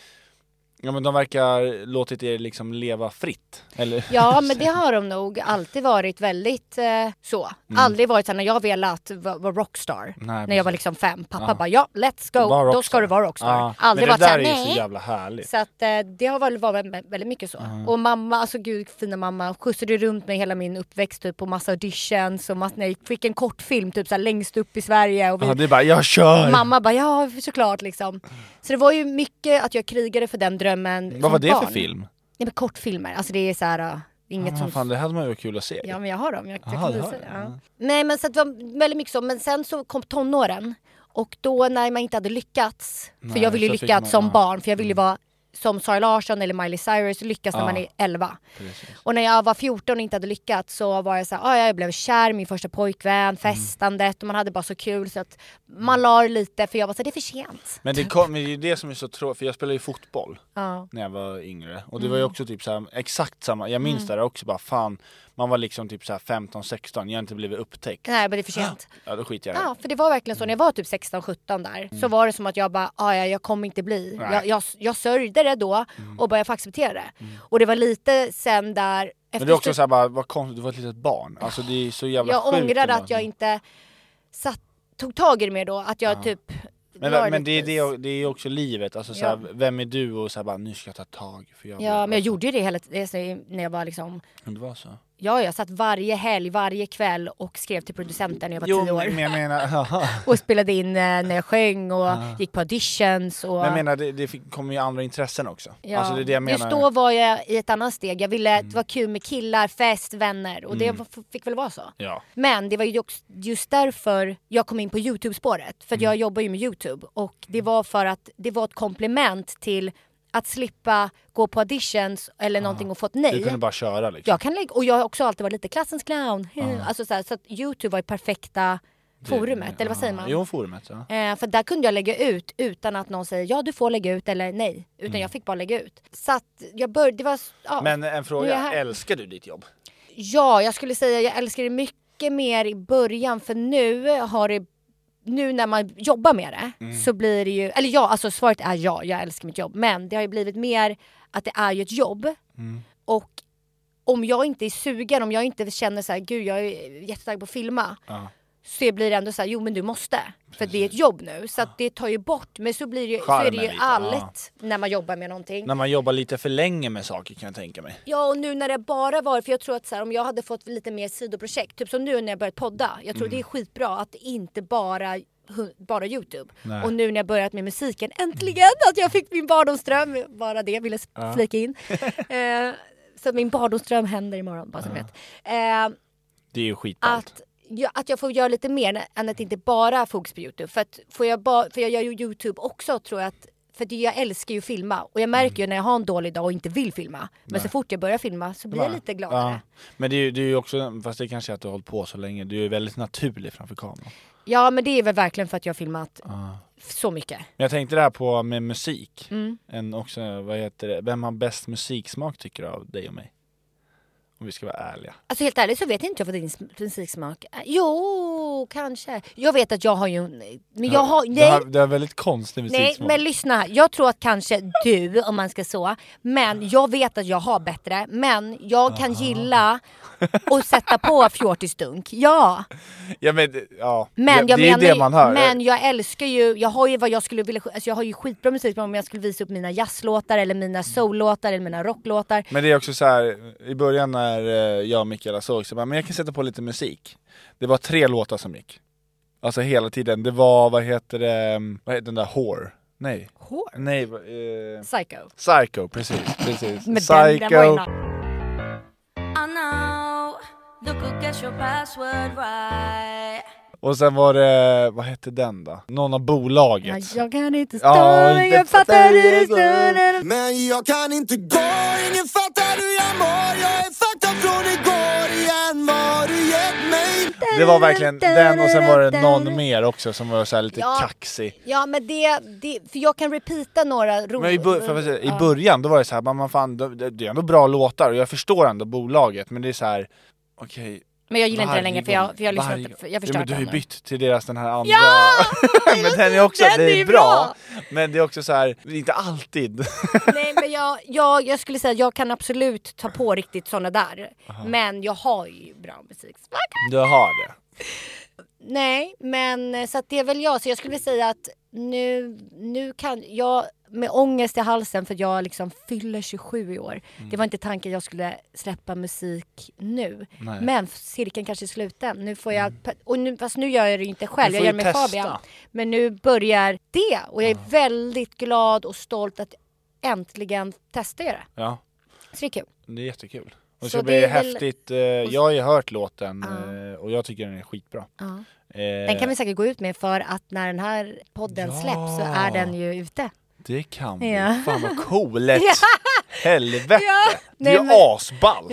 Ja men de verkar låtit er liksom leva fritt, eller?
Ja men det har de nog alltid varit väldigt eh, så.
Mm.
Aldrig varit så här när jag velat vara vara rockstar. när jag
precis.
var liksom fem. Pappa bara ja let's go,
Var
då ska
rockstar.
du vara rockstar.
Ja,
Aldrig
men
varit
det
så
där
här,
är ju så
nej.
jävla härligt.
Så att eh, det har väl varit vä- väldigt mycket så. Och mamma, alltså gud fina mamma, skjutsade runt mig hela min uppväxt typ på massa auditions och massa, när jag fick en kortfilm typ så här, längst upp i Sverige och vi
Ja, det är bara, jag kör!
Mamma bara ja såklart liksom. Så det var ju mycket att jag krigade för den drömmen som
Vad var det
barn.
för film?
Nej men kortfilmer, alltså det är så här uh, inget
Ah,
sånt.
fan, det hade man ju varit kul att se.
Ja men jag har dem, jag, jag
Aha,
kan
det
visa
har
det.
du.
Ja. Nej men så att det var väldigt mycket så, men sen så kom tonåren och då när man inte hade lyckats, för
Nej,
jag ville
så
ju
fick
lyckas
man-
som
ja. Mm.
barn för jag ville ju vara som Sara Larsson eller Miley Cyrus lyckas när man är 11. Och när jag var 14 och inte hade lyckats så var jag så här, ah, jag blev kär, min första
Mm.
pojkvän, festandet och man hade bara så kul så att man la lite för jag var så här, det är för sent.
Men det, kom, men det är ju det som är så tråkigt, för jag spelade ju fotboll
Ja. Mm.
när jag var yngre. Och det var ju också typ så här, exakt samma, jag minns det där också bara fan, man var liksom typ så här 15-16, jag har inte blivit upptäckt.
Nej men det är för
Ah.
sent.
Ja då skiter jag i det.
Ja, för det var verkligen så. När jag var typ 16-17 där så var det som att jag bara, "Ah, ja, jag kommer inte bli.
Mm. Nej. Mm.
Jag, jag, jag sörjde det då och bara, jag får acceptera det. Och det var lite sen där... Efter
Men det är också
slut-
såhär bara, vad konstigt, du var ett litet barn. Alltså det är så jävla
jag
sjukt
ångrade
ändå.
att jag inte satt, tog tag i det mer då. Att jag typ... la
Men, men det, är
lite-
det, det är ju också livet, alltså såhär, vem är du och såhär bara nu ska jag ta tag för jag
Ja,
vill-
men jag gjorde ju det hela tiden när jag var liksom...
Men det var så?
Ja, jag satt varje helg, varje kväll och skrev till producenten när jag var
Jo
tio år.
men jag menar, haha.
Och spelade in eh, när jag sjöng och gick på auditions och...
Men jag menar det, det fick- kommer ju andra intressen också.
Ja.
Alltså det är det jag menar. Mm.
Just då var jag i ett annat steg. Jag ville det var kul med killar, fest, vänner och det var- fick väl vara så.
Ja.
Men det var ju också just därför jag kom in på Youtube-spåret. För att
Mm.
jag jobbar ju med Youtube och det var för att det var ett komplement till att slippa gå på auditions eller någonting och fått
Ah. Du kunde
nej.
bara köra liksom.
Jag kan lägga, och jag har också alltid varit lite klassens clown.
Ah.
Alltså så, här, så att Youtube var ju perfekta forumet, eller vad säger man?
Jo, forumet ja.
Eh, för där kunde jag lägga ut utan att någon säger ja du får lägga ut eller nej. Utan jag fick bara lägga ut. Så att jag började, det var, ja.
Mm. Men en
Nu är jag
fråga,
här.
älskar du ditt jobb?
ja jag skulle säga jag älskar det mycket mer i början för nu har det, nu när man jobbar med det
Mm.
så blir det ju, eller ja alltså svaret är ja, jag älskar mitt jobb. Men det har ju blivit mer att det är ju ett jobb.
Mm.
Och om jag inte är sugen, om jag inte känner så här, gud jag är jättetaggad på att filma. Så blir det ändå så här, jo men du måste. För det är ett jobb nu. Så att det tar ju bort, men så, blir det, så är det
Charmen
ju
lite,
allt när man jobbar med någonting.
När man jobbar lite för länge med saker kan jag tänka mig.
Ja och nu när det bara var, för jag tror att så här, om jag hade fått lite mer sidoprojekt, typ som nu när jag börjat podda. Jag tror det är skitbra att det inte bara hu- bara Youtube. Och nu när jag börjat med musiken, äntligen att jag fick min barndomsdröm. Bara det ville jag flika in. eh, så att min barndomsdröm händer imorgon, bara så ni vet. Eh,
Det är ju skitballt.
att, jag, att jag får göra lite mer än att inte bara fokus på Youtube. För, att får jag ba, för jag gör ju Youtube också tror jag att För att jag älskar ju att filma och jag märker
Mm.
ju när jag har en dålig dag och inte vill filma. Men så fort jag börjar filma så blir jag lite
Ja.
gladare.
Men det är ju det är ju också, fast det kanske är att du har hållit på så länge, du är väldigt naturlig framför kameran.
Ja. men det är väl verkligen för att jag har filmat så mycket.
Men jag tänkte det här på med musik,
Mm.
en också, vad heter det, vem har bäst musiksmak tycker du av dig och mig? Om vi ska vara ärliga.
Alltså helt ärligt så vet inte jag vad din sm- musiksmak är. Jo, kanske. Jag vet att jag har ju... Men jag har...
Du har,
Nej,
du har väldigt konstig
nej
musiksmak.
men lyssna. här. Jag tror att kanske du, om man ska så. Men jag vet att jag har bättre. Men jag kan gilla att sätta på fjortisdunk. Ja.
Ja men, ja.
Men
det,
jag
det är
menar,
ju det man hör.
men jag älskar ju, jag har ju vad jag skulle vilja, alltså jag har ju skitbra musik men om jag skulle visa upp mina jazzlåtar eller mina soullåtar eller mina rocklåtar.
Men det är också så här i början när eh, jag och Mikaela såg så bara, men jag kan sätta på lite musik. Det var tre låtar som gick. Alltså hela tiden. Det var, vad heter det, mm, vad heter den där Whore? Nej.
Hår?
Nej, eh,
Psycho.
Psycho, precis. precis.
Men den, den var ju
Psycho.
na-
och sen var det, vad hette den då? Någon av
Ja,
bolaget.
jag kan inte stå,
Ja, inte
jag fattar
fattar
hur det
jag
snurrar.
Men jag kan inte gå, ingen fattar hur jag mår Jag är fucked från igår igen, vad har du gett mig?
Det var verkligen den och sen var det någon mer också som var så här lite
Ja.
kaxig.
Ja men det, det, för jag kan repeata några ro-
Men i, bör- för att säga, i början då var det så här, bara, man fan, det det är ändå bra låtar och jag förstår ändå bolaget men det är så här, okej.
Men jag gillar inte den längre för jag, för jag lyssnar
varje
inte,
gång.
för jag
ja,
förstör
men Du har
den
ju
nu.
bytt till deras den här andra.
Ja!
men den är också,
Den
det
är
är
bra.
bra. Men det är också så här, det är inte alltid.
Nej men jag, jag, jag skulle säga att jag kan absolut ta på riktigt såna där. Men jag har ju bra musiksmak.
du har det.
Nej men eh, så att det är väl jag. Så jag skulle vilja säga att nu, nu kan jag med ångest i halsen för att jag liksom fyller 27 i år.
Mm.
Det var inte tanken jag skulle släppa musik nu.
Nej. Mm.
Men cirkeln kanske är sluten. Nu får jag, och nu, fast nu gör jag det ju inte själv,
Du
jag
får
gör det
ju
med
testa.
Fabian. Men nu börjar det och jag är väldigt glad och stolt att äntligen testa göra.
Ja,
Så det är kul.
det är jättekul. Och
Så
det ska
det
bli
är väl-
häftigt. eh, Jag har ju hört låten eh, och jag tycker den är skitbra.
Ja.
Eh,
Den kan vi säkert gå ut med för att när den här podden
Ja.
släpps så är den ju ute.
Det kan vi.
Ja.
Fan vad coolet!
Ja.
Helvete!
Ja.
Det är
Nej,
ju
men-
asballt!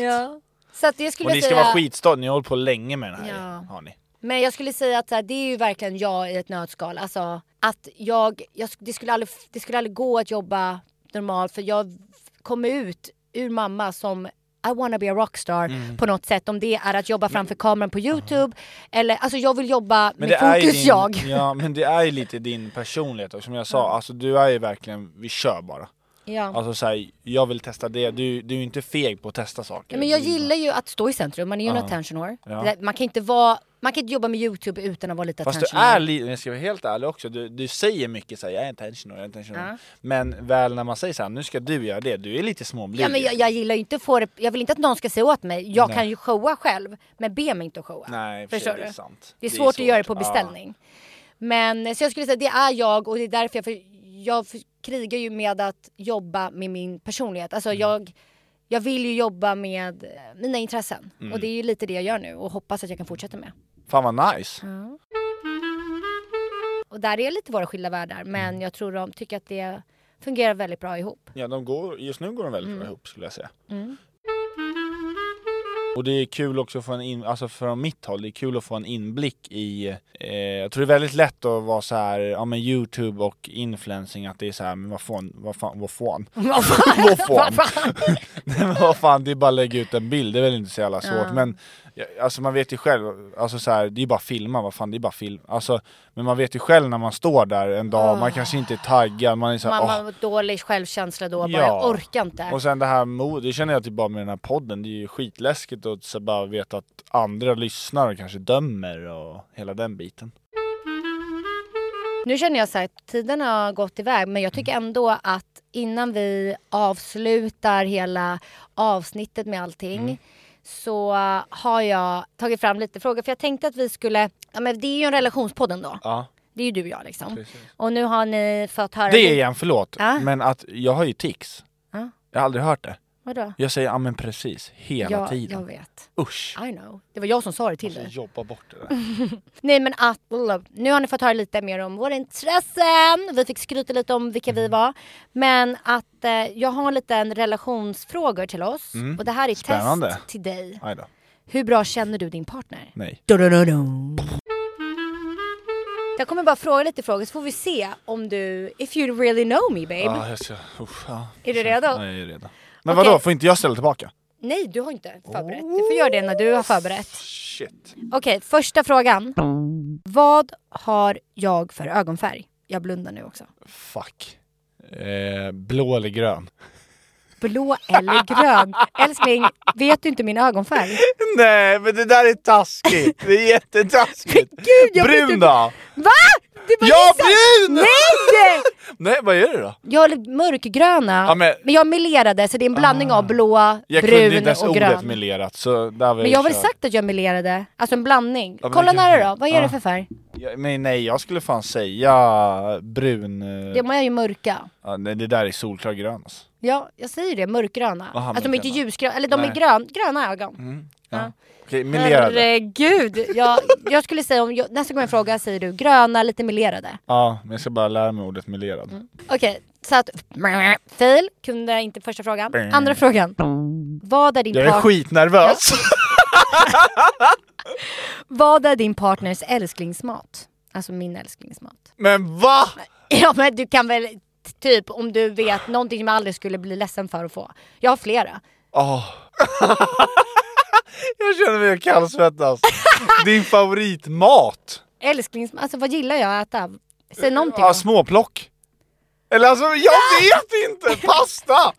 Så att jag skulle
Och ni ska
säga,
vara skitstolta, ni har hållit på länge med den här.
Ja.
Har ni.
Men jag skulle säga att så här, det är ju verkligen jag i ett nötskal. Alltså att jag, jag det, skulle aldrig, det skulle aldrig gå att jobba normalt för jag kommer ut ur mamma som I wanna be a rockstar
Mm.
på något sätt. Om det är att jobba framför kameran på Youtube eller alltså jag vill jobba
Men
med
det är ju
fokus
din,
jag.
Ja, men det är ju lite din personlighet och som jag sa, alltså du är ju verkligen, vi kör bara.
Ja.
Alltså så här, jag vill testa det, du, du är ju inte feg på att testa saker.
Ja, men jag
Du-
gillar ju att stå i centrum, man är ju en attention whore.
Ja.
Det där- Man kan inte vara man kan inte jobba med Youtube utan att vara lite
Fast du
attention
är
whore.
lite, jag ska vara helt ärlig också, du, du säger mycket såhär, jag är intentional, jag är intentional. Men väl när man säger såhär, nu ska du göra det, du är lite småblyg.
Ja, men jag, jag gillar ju inte att få det, jag vill inte att någon ska säga åt mig, jag kan ju showa själv men be mig inte att showa.
Nej, för sig,
Förstår
det
du?
är sant.
Det är svårt att göra det på beställning. Men så jag skulle säga det är jag och det är därför jag, för jag för- krigar ju med att jobba med min personlighet.
Mm.
Alltså jag, jag vill ju jobba med eh, mina intressen
Mm.
och det är ju lite det jag gör nu och hoppas att jag kan fortsätta med.
Ja. Fan vad nice!
Och där är lite våra skilda världar
Mm.
men jag tror de tycker att det fungerar väldigt bra ihop.
Ja, de går, just nu går de väldigt
Mm.
bra ihop skulle jag säga. Och det är kul också att få en in, alltså från mitt håll, det är kul att få en inblick i eh, Jag tror det är väldigt lätt att vara så här, ja men youtube och influencing att det är så här, men vad fan, vad fan, vad fan?
Vad fan?
Vad fan? Nej men vad fan, det är bara att lägga ut en bild, det är väl inte så jävla svårt men ja, Alltså man vet ju själv, alltså så här, det är ju bara att filma, vad fan det är bara film alltså, Men man vet ju själv när man står där en dag, man kanske inte är taggad, man är så här,
Ah. Man
"Åh,
har dålig självkänsla då, bara jag orkar inte.
och sen det här mod, det känner jag typ bara med den här podden, det är ju skitläskigt att så bara veta att andra lyssnar och kanske dömer och hela den biten.
Nu känner jag så här, tiden har gått iväg men jag tycker ändå att innan vi avslutar hela avsnittet med allting
Mm.
så har jag tagit fram lite frågor för jag tänkte att vi skulle, ja men det är ju en relationspodd ändå.
Ja.
Det är ju du och jag liksom. Och nu har ni fått höra
Det igen, förlåt,
Ja.
men att jag har ju tics.
Ja.
Jag har aldrig hört det.
Vadå?
Jag säger ja men precis, hela
Ja,
tiden. Alltså,
jag vet.
Usch!
I know. Det var jag som sa det till dig.
Jobba bort det där.
Nej men att, nu har ni fått höra lite mer om våra intressen, vi fick skryta lite om vilka
Mm.
vi var. Men att eh, jag har en liten relationsfrågor till oss och det här är
Mm. Spännande.
test till dig.
Aj då.
Hur bra känner du din partner?
Nej.
Dun-dun-dun-dun. Jag kommer bara fråga lite frågor så får vi se om du, if you really know me babe.
Ja, jag ska, usch, ja.
Är du redo?
Ja, jag är redo. Men
Okej.
vadå, får inte jag ställa tillbaka?
Nej du har inte förberett, du får göra det när du har förberett.
Shit.
Okej, första frågan. Vad har jag för ögonfärg? Jag blundar nu också.
Fuck. Eh, blå eller grön?
Blå eller grön? Älskling, vet du inte min ögonfärg?
Nej, men det där är taskigt. Det är jättetaskigt.
Gud, jag vet
brun
inte-
då?
Va? Du bara
Ja,
gissar.
brun!
Nej!
Nej, vad är det då?
Jag är mörkgröna,
Ja,
men...
men- Ah.
jag melerade så det är en blandning av blå,
Jag kunde inte
brun
ens
och
ordet
grön.
melerat så där var
men jag har väl
körd.
sagt att jag melerade? Alltså en blandning.
Ja, men
Kolla
det Ah.
nära
kanske-
då, vad är det
Ja.
för färg?
Ja, men nej, jag skulle fan säga brun... eh,
De är ju mörka.
Ja, nej, det där är solklar grön alltså.
Ja, jag säger det, mörkgröna.
Aha,
alltså de är inte
mörkgröna.
ljusgröna, eller de är
Nej.
grön, gröna ögon.
Ja.
Ja.
Okej, melerade.
Herregud! Jag, jag skulle säga om, jag, nästa gång jag frågar säger du gröna, lite melerade.
Ja, men jag ska bara lära mig ordet melerad.
Okej, så att... Fail, kunde inte första frågan. Andra frågan. Vad är din,
Jag är
part-
skitnervös!
vad är din partners älsklingsmat? Alltså min älsklingsmat.
Men va?
Ja men du kan väl, t- typ om du vet någonting som jag aldrig skulle bli ledsen för att få. Jag har flera.
Åh. jag känner mig kallsvettas. Din favoritmat?
Älsklingsmat, alltså vad gillar jag att äta? Säg någonting
Ja,
då.
småplock. Eller alltså, jag vet inte! Pasta!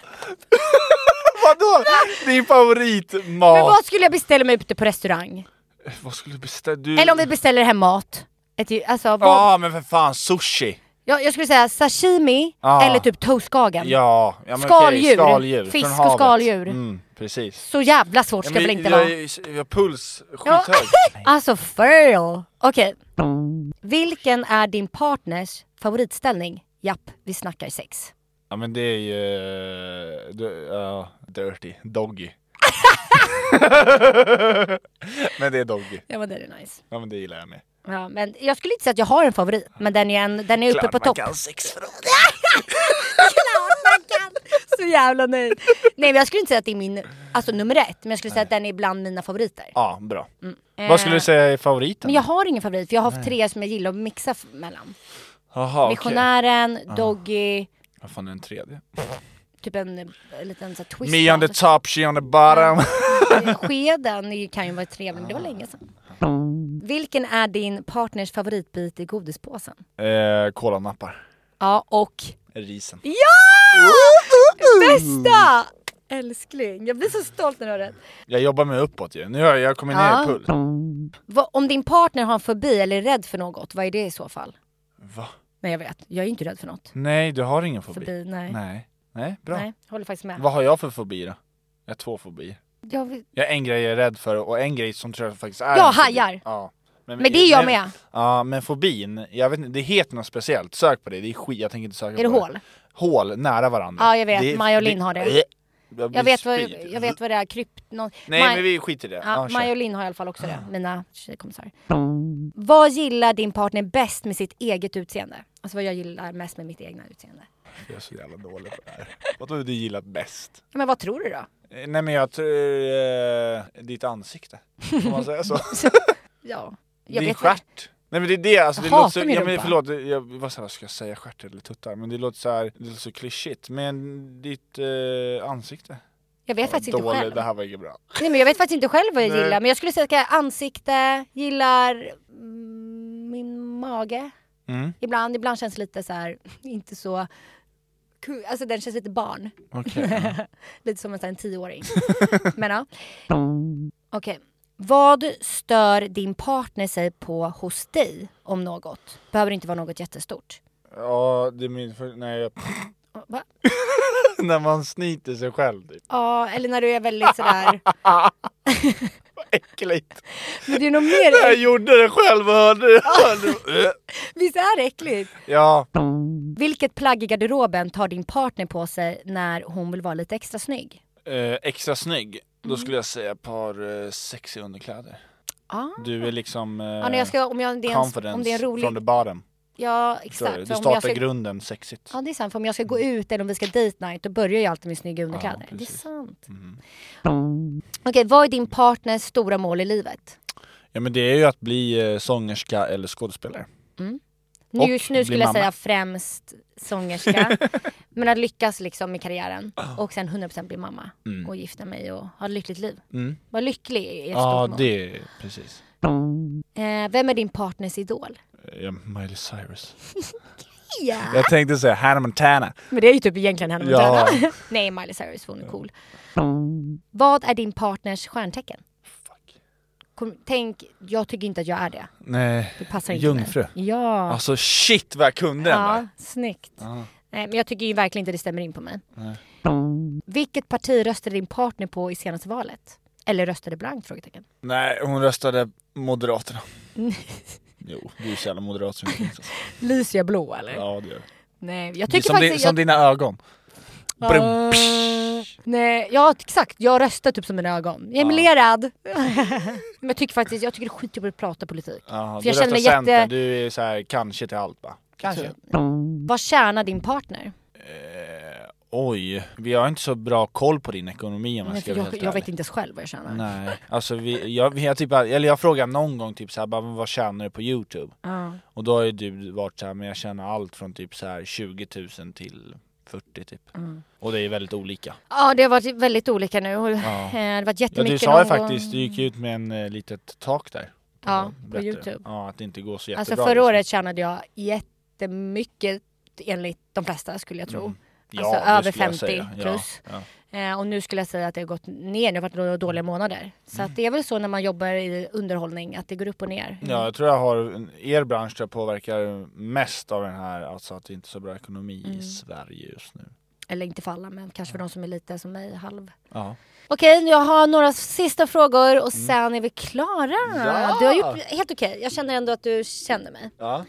Vadå? Din favoritmat?
Men vad skulle jag beställa mig ute på restaurang?
Vad skulle du beställa? Du...
Eller om vi beställer hem mat? Ett, alltså, vad,
Ja, men för fan, sushi!
Ja, jag skulle säga sashimi
Ja.
eller typ toastkagen.
Ja, ja men
Skaldjur.
Okej, skaldjur.
Fisk
från
och
havet.
skaldjur.
Mm, precis.
Så jävla svårt
Ja,
ska
men
det väl inte
jag,
vara?
jag, jag har puls
Ja.
skithög.
Alltså fail! Okej.
Mm.
Vilken är din partners favoritställning? Japp, vi snackar sex.
Ja men det är ju... eh, du- ja, dirty. Doggy. men det är doggy.
Ja men det är nice.
Ja men det gillar jag med.
Ja, men jag skulle inte säga att jag har en favorit, men den är, en, den är uppe på topp.
sexfrågor.
Klart man kan! Så jävla nöjd. Nej men jag skulle inte säga att det är min, alltså nummer ett, men jag skulle säga att den är bland mina favoriter. Eh,
Ja, bra.
Mm.
Vad skulle du säga är favoriten?
Men jag har ingen favorit, för jag har haft tre som jag gillar att mixa f- mellan.
Jaha, okej.
Missionären, Doggy,
Vad fan är den tredje?
typ en, en liten så här, twist.
Me on
på-
the top, she on the bottom.
Skeden är ju- kan ju vara trevlig, men det var länge sedan. Vilken är din partners favoritbit i godispåsen? Mm.
eh, kolanappar.
Ja, och...
Risen.
Ja! Bästa! Älskling, jag blir så stolt när du har rätt.
Jag jobbar mig uppåt ju. Nu har jag, jag kommit ner
Ja.
i puls.
Va- Om din partner har en fobi eller är rädd för något, vad är det i så fall?
Va?
Nej, jag vet. Jag är ju inte rädd för något.
Nej, du har ingen fobi?
Fobi, nej. Nej,
Nej. Nej, bra.
jag håller faktiskt med.
Vad har jag för fobi då? Jag har två fobier.
Jag vet-
Jag har en grej jag är rädd för och en grej som tror jag faktiskt är
Ja,
en fobi.
hajar.
Ja.
Men det är jag med.
Ja, men fobin, jag vet inte, det heter något speciellt. Sök på det, det är skit, jag tänker inte söka
Är det
på
hål?
Hål, nära varandra.
Ja, jag vet.
Det-
Maja och Linn har det.
Jag, blir
Jag vet, vad,
spyr.
jag vet vad det är, krypt... Någon,
Nej
Maj-
men vi skiter i det.
Ja,
Ja, kör. Ah.
Maja och Linn har i alla fall också det, mina tjejkompisar. Vad gillar din partner bäst med sitt eget utseende? Alltså vad jag gillar mest med mitt egna utseende.
Jag är så jävla dålig på det här. Vad har du gillat bäst?
Ja, Men vad tror du då?
Eh, Nej men jag tror... Eh, ditt ansikte. Får man säga så?
Ja, jag
Din
vet inte.
stjärt. Nej men det är det, alltså, det
Jag hatar
låter så,
min
ja, men
rumpa.
förlåt, jag, vad sa jag, ska jag säga stjärt eller tuttar? Men det låter så här, det låter så klyschigt. Men ditt eh, ansikte?
Jag vet faktiskt inte
Dålig,
själv.
det här var inget bra.
Nej, men jag vet faktiskt inte själv vad jag
Nej.
gillar. Men jag skulle säga att jag ansikte, gillar mm, min mage.
Mm.
Ibland, ibland känns det lite så här, inte så... ku- Alltså den känns lite barn.
Okej.
Lite som en, sån här tioåring. Men ja. Okej. Vad stör din partner sig på hos dig om något? Behöver inte vara något jättestort.
ja, det är min för, nej, jag,
Va?
När man snyter sig själv typ.
Ja, eller när du är väldigt sådär...
Äckligt.
Men det Ah! är nog
Jag
mer...
gjorde det själv och hörde det. Hörde det.
Visst är det äckligt?
Ja,
Vilket plagg i garderoben tar din partner på sig när hon vill vara lite extra snygg?
eh, extra snygg, då skulle jag säga ett par eh, sexy underkläder.
Ah.
Du är liksom eh,
Ja, när jag ska, om, jag, det är en,
confidence
om det är en
from the
rolig...
bottom.
Ja,
Förstår du? du
exakt. För om jag
startar
ska,
grunden sexigt.
ja, det är sant. För om jag ska gå ut eller om vi ska date night, då börjar jag alltid med snygga underkläder. det är
precis.
sant.
Mm.
Okej, vad är din partners stora mål i livet?
Ja men det är ju att bli eh, sångerska eller skådespelare.
Nu,
Och
just nu
bli
skulle jag
mamma.
säga främst sångerska. men att lyckas liksom med karriären.
Ah.
Och sen 100% bli mamma. Och gifta mig och ha ett lyckligt liv.
Mm. Ah,
Var lycklig är ett
Ja
stort mål.
det, precis.
Eh, vem är din partners idol?
Ja, Miley Cyrus.
Ja.
Jag tänkte säga Hannah Montana.
Men det är ju typ egentligen Hannah
Ja.
Montana. Nej, Miley Cyrus, hon är cool. Vad är din partners stjärntecken?
Fuck.
Kom, tänk, jag tycker inte att jag är det.
Nej.
Det passar inte mig.
Jungfru.
Ja.
Alltså shit vad jag kunde den
ja,
där.
snyggt. Nej, men jag tycker ju verkligen inte det stämmer in på mig.
Nej.
Vilket parti röstade din partner på i senaste valet? Eller röstade blankt? Frågetecken.
Nej hon röstade Moderaterna. jo, du är så jävla moderat som det finns, alltså.
Lyser jag blå eller?
Ja det gör du.
Nej, jag
det. är
tycker
Som, di-
faktiskt...
som
jag,
dina ögon. Brum, psh.
nej, ja exakt. Jag röstar typ som mina ögon. Jag är melerad. men jag tycker faktiskt, jag tycker det är skitjobbigt att prata politik.
Ja,
För
du
jag känner
röstar
mig
Centern,
jätte...
du är så här kanske till allt va? Kanske.
Vad tjänar din partner?
Oj, vi har inte så bra koll på din ekonomi om jag
Nej,
ska
för
vara
jag,
helt
jag
ärlig.
vet inte ens själv vad jag tjänar.
Nej, alltså vi, jag, jag, typ, eller jag frågade någon gång typ så här, bara, "Men vad tjänar du på youtube?
Ja.
Och då har ju du varit så här, men jag tjänar allt från typ så här 20 000 till 40 typ. Och det är väldigt olika.
ja, det har varit väldigt olika nu. Och, eh, Det har varit
Ja,
jättemycket
du sa ju
någon gång.
faktiskt, du gick ut med en eh, litet tak där. på-
Ja, på
berättade du.
YouTube.
Ja, att det inte går så jättebra. liksom.
Alltså förra
just nu.
året tjänade jag jättemycket enligt de flesta skulle jag tro.
Mm. ja,
alltså
det
över
skulle jag säga.
50
Ja,
plus.
Ja,
Eh, och nu skulle jag säga att det har gått ner, det har varit några dåliga månader. Så att det är väl så när man jobbar i underhållning att det går upp och ner.
Mm. Ja, jag tror jag har, er bransch tror jag påverkar mest av den här, alltså att det inte är så bra ekonomi
Mm.
i Sverige just nu.
Eller inte för alla men kanske för de som är lite som mig, halv.
Ja.
Okej, jag har några sista frågor och sen är vi klara.
Mm. Ja!
Du har gjort helt okej, jag känner ändå att du känner mig.
Ja.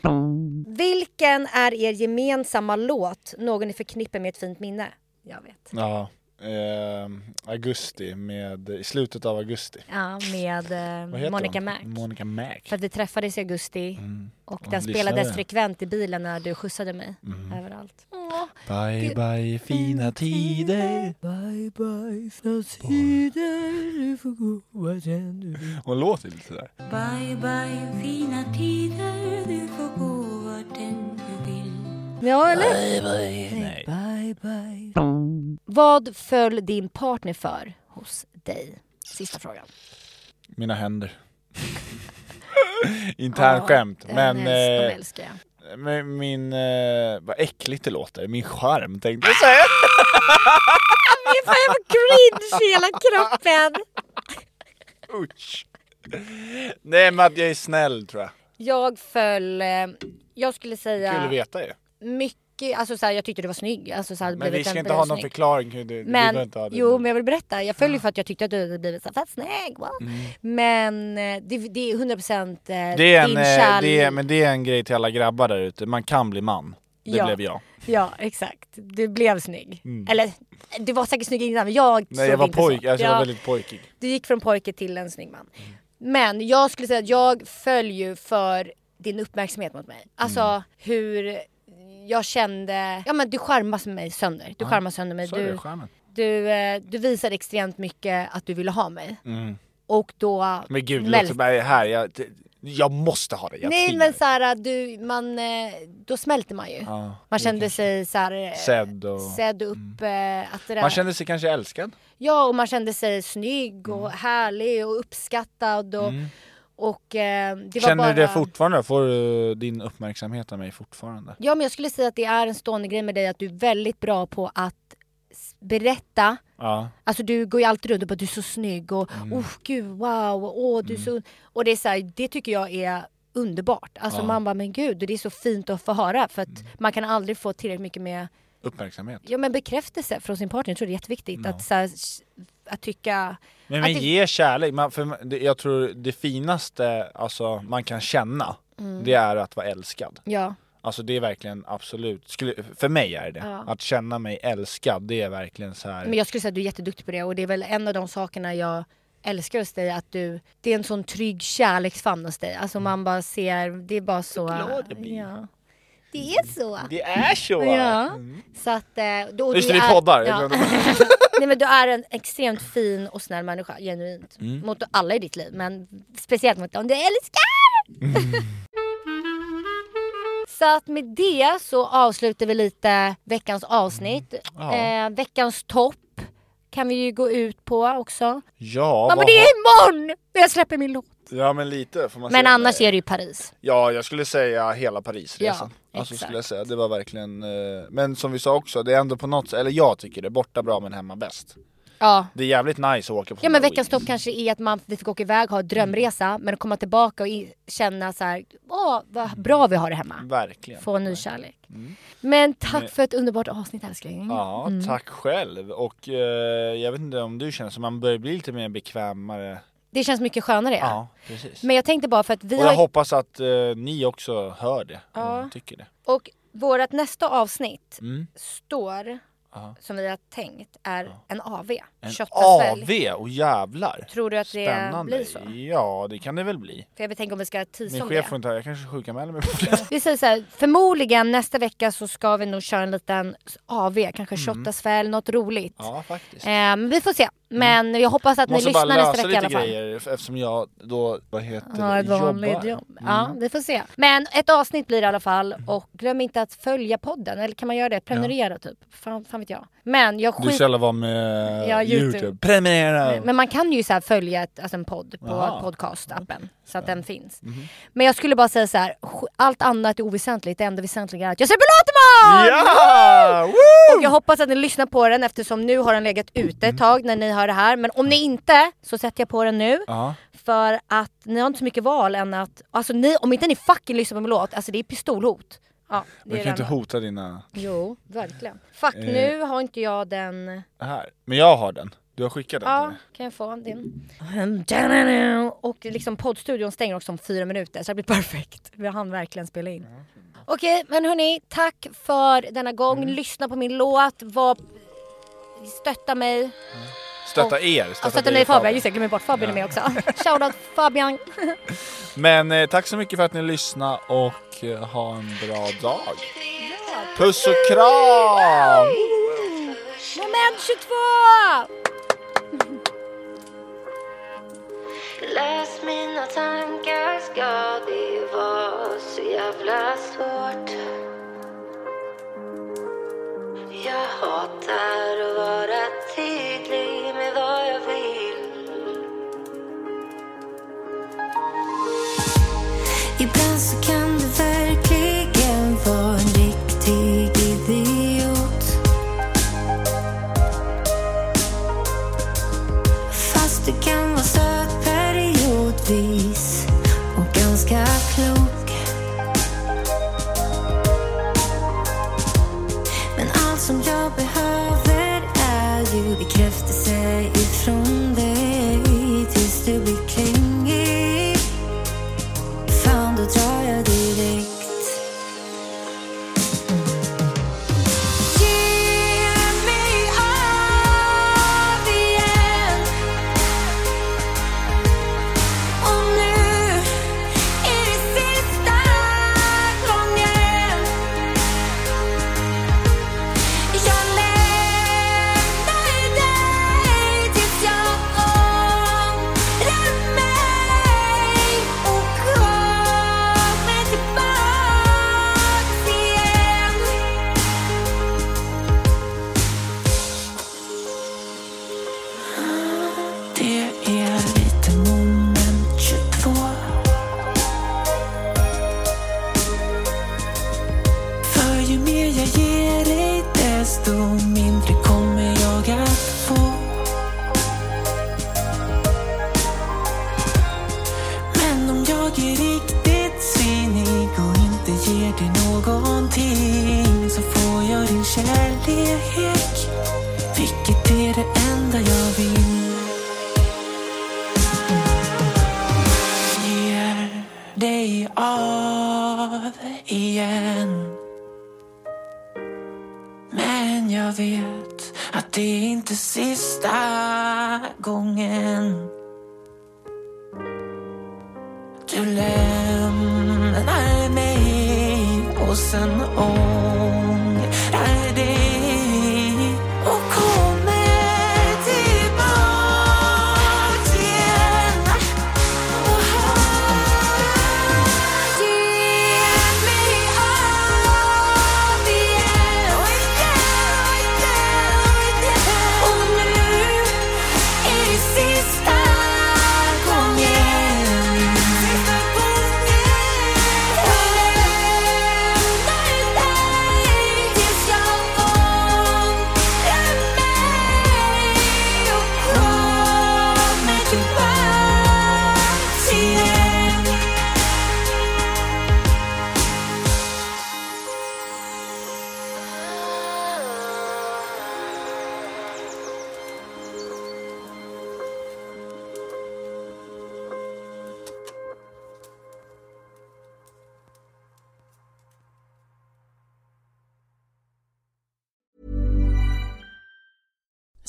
Vilken är er gemensamma låt någon ni förknippar med ett fint minne? Jag vet.
Ja, ehm, augusti med, i slutet av augusti.
Ja, med
Vad
eh,
heter
Monica
hon?
Mac.
Monica Mac.
För att vi träffades i augusti och den
lyssnade. Mm.
spelades frekvent i bilen när du skjutsade mig överallt. Åh.
Bye bye fina tider.
Bye bye från sidor, du får gå vart än du vill.
Hon låter lite sådär.
Bye bye fina tider, du får gå vart än du vill.
Ja, eller?
Nej.
Bye bye. Vad föll din partner för hos dig? Sista frågan.
Mina händer. Intern skämt.
Den
Men,
äls- de
eh,
älskar jag.
men min, eh, vad äckligt det låter. Min skärm tänkte jag säga.
Fan, jag får cringe i hela kroppen.
Usch. Nej men att jag är snäll tror jag.
Jag föll, eh, jag skulle säga...
Kul att veta ju.
mycket, alltså såhär, jag tyckte du var snygg. Alltså, såhär,
Men vi
blivit
ska
en
inte ha någon
snygg.
förklaring. Hur det, vi
Men,
inte ha det. Ah.
jo men jag vill berätta, jag följer för att jag tyckte att du hade blivit så här, fett snygg. va?
Mm.
Men eh, det, det är 100% eh,
Det är en,
din
eh,
kärlek.
det är, men det är en grej till alla grabbar där ute, man kan bli man. Det
Ja.
blev jag. Mm.
Ja exakt, du blev snygg. Eller du var säkert snygg innan men jag
Nej
såg
jag var
inte så.
pojk, alltså, jag
Ja,
var väldigt Mm. pojkig.
Du gick från pojke till en snygg man. Men jag skulle säga att jag följer ju för din uppmärksamhet mot mig. Alltså
Mm.
hur jag kände, ja men du charmas mig sönder. Du charmas sönder mig.
Så är
Du,
det, skärmen.
du, eh, du visade extremt mycket att du ville ha mig. Och då...
Mm. Men gud,
Mel-
låt mig bara här, jag, det- jag måste ha det. Jag
Nej
tvingar
men
dig.
såhär, du, man, eh, då smälter man ju.
Ja,
man kände sig såhär... eh,
Sedd och... Mm.
Sedd upp eh, att det där...
Man kände sig kanske älskad.
Ja och man kände sig snygg och
Mm.
härlig och uppskattad och... och eh, det var
Känner
bara...
du det fortfarande? Får du din uppmärksamhet av mig fortfarande?
Ja men jag skulle säga att det är en stående grej med dig att du är väldigt bra på att s- berätta
Ja.
Alltså du går ju alltid runt och bara du är så snygg och
Mm.
oh gud wow, åh du är så... Och det är så här, det tycker jag är underbart. Alltså man bara men gud, det är så fint att få höra för att
Mm.
man kan aldrig få tillräckligt mycket med
Uppmärksamhet.
ja, men bekräftelse från sin partner. Jag tror det är jätteviktigt att, så här, s- att tycka...
Men,
att
men
det-
ge kärlek. Man, för man- det- jag
Mm.
tror det finaste alltså, man kan känna, det är att vara älskad.
Ja.
Alltså det är verkligen absolut, skulle, för mig är det. Att känna mig älskad, det är verkligen så här.
Men jag skulle säga att du är jätteduktig på det och det är väl en av de sakerna jag älskar hos dig att du, det är en sån trygg kärleksfamn hos dig. Alltså man bara ser, det är bara så.
Mm. glad jag blir.
Ja. Det är så.
Det är så!
Ja. Så att, eh, då, och
Just
du
det, vi
är-
poddar. Jag
Ja.
glömde.
Nej men du är en extremt fin och snäll människa, genuint.
Mm.
Mot alla i ditt liv, men speciellt mot dem du älskar!
Mm.
så att med det så avslutar vi lite veckans avsnitt.
Mm.
Eh, veckans topp kan vi ju gå ut på också.
Ja,
Ja, men
vad
det är
har-
imorgon när jag släpper min låt!
ja men lite får man
Men
säga.
annars är det ju Paris.
Ja, jag skulle säga hela Parisresan.
Ja,
alltså skulle jag
exakt.
säga, det var verkligen, eh, men som vi sa också, det är ändå på något sätt, eller jag tycker det, borta bra men hemma bäst.
Ja.
Det är jävligt nice att åka på
Ja
såna
men
här
veckans
weekends.
topp kanske är att man, vi fick åka iväg, ha en drömresa,
Mm.
men komma tillbaka och i, känna så här, åh vad bra vi har det hemma.
Verkligen.
Få en ny kärlek. Men tack för ett underbart avsnitt älskling.
Mm. Ja,
Mm.
tack själv. Och eh, jag vet inte om du känner så, man börjar bli lite mer bekvämare.
Det känns mycket skönare.
Ja, precis.
Men jag tänkte bara för att vi
Och jag
har...
hoppas att eh, ni också hör det, och tycker det.
och vårt nästa avsnitt
Mm.
står, som vi har tänkt, är en AV.
En
Köttasvälj.
AV, och jävlar!
Tror du att det
Spännande.
blir så?
Ja, det kan det väl bli.
För jag vill tänka om vi ska teasa
Min
om
chef
det.
får inte höra, jag kanske sjukanmäler mig på fredag.
Vi säger så här, förmodligen nästa vecka så ska vi nog köra en liten AV, kanske shottasfäll, något roligt.
Mm. Ja, faktiskt.
Eh, men vi får se. Men jag hoppas att
Mm.
ni
Måste
lyssnar
bara
nästa
lösa
vecka i
lite
alla fall.
grejer f- eftersom jag då, vad heter
Ja,
det,
ett vanligt
jobbar.
jobb. Ja, vi får se. Men ett avsnitt blir det i alla fall. Och glöm inte att följa podden. Eller kan man göra det? Prenumerera typ. Fan, fan vet jag. Men jag
Du
skit...
ska alla vara med eh,
Ja,
YouTube.
YouTube.
Prenumerera!
Men man kan ju så här följa ett, alltså en podd på
Aha.
podcastappen. Så att den finns.
Mhm.
Men jag skulle bara säga så här. sk- Allt annat är oväsentligt. Det enda väsentliga är att jag släpper låt imorgon!
Ja!
Och jag hoppas att ni lyssnar på den eftersom nu har den legat ute ett tag när ni hör det här. Men om ni inte så sätter jag på den nu.
Ja.
För att ni har inte så mycket val än att, alltså ni, om inte ni fucking lyssnar på min låt, alltså det är pistolhot. Ja, det
Man
är
kan
det
inte Eh.
enda.
hota dina...
Jo, verkligen. Fuck, nu har inte jag den.
Här. Men jag har den. Du har skickat den till
Ja,
mig.
kan jag få din? Och liksom poddstudion stänger också om fyra minuter så det blir perfekt. Vi hann verkligen spela in. Okej, Mm. men hörni, tack för denna gång. Lyssna på min låt, var... stötta mig.
Stötta er!
Ja, stötta mig Fabian, just det, glömmer bort Fabian är med också. Shoutout Fabian.
Men eh, tack så mycket för att ni lyssnade och eh, ha en bra dag. Puss och kram!
Moment 22!
Läs mina tankar, ska det vara så jävla svårt? Jag hatar att vara tydlig med vad jag vill. Ibland så kan du verkligen vara en riktig idiot. Fast du kan vara söt periodvis och ganska klok. Men allt som jag behöver är ju bekräftelse ifrån dig tills du blir klingig. Fan, då drar jag direkt. Ge mig av igen och nu är det sista gången Jag lämnar dig tills jag ångrar mig och kommer tillbaks igen Det är lite moment 22 För ju mer jag ger dig desto mindre kommer jag att få Men om jag är riktigt svinig och inte ger dig någonting så får jag din kärlek vilket är det enda jag vill Ger dig av igen inte sista gången Du lämnar mig och sen ångrar dig och kommer tillbaka igen och hör till mig av igen och igen och igen och igen och nu är det sista gången Sista gången Jag lämnar dig tills jag ångrar mig och kommer tillbaks igen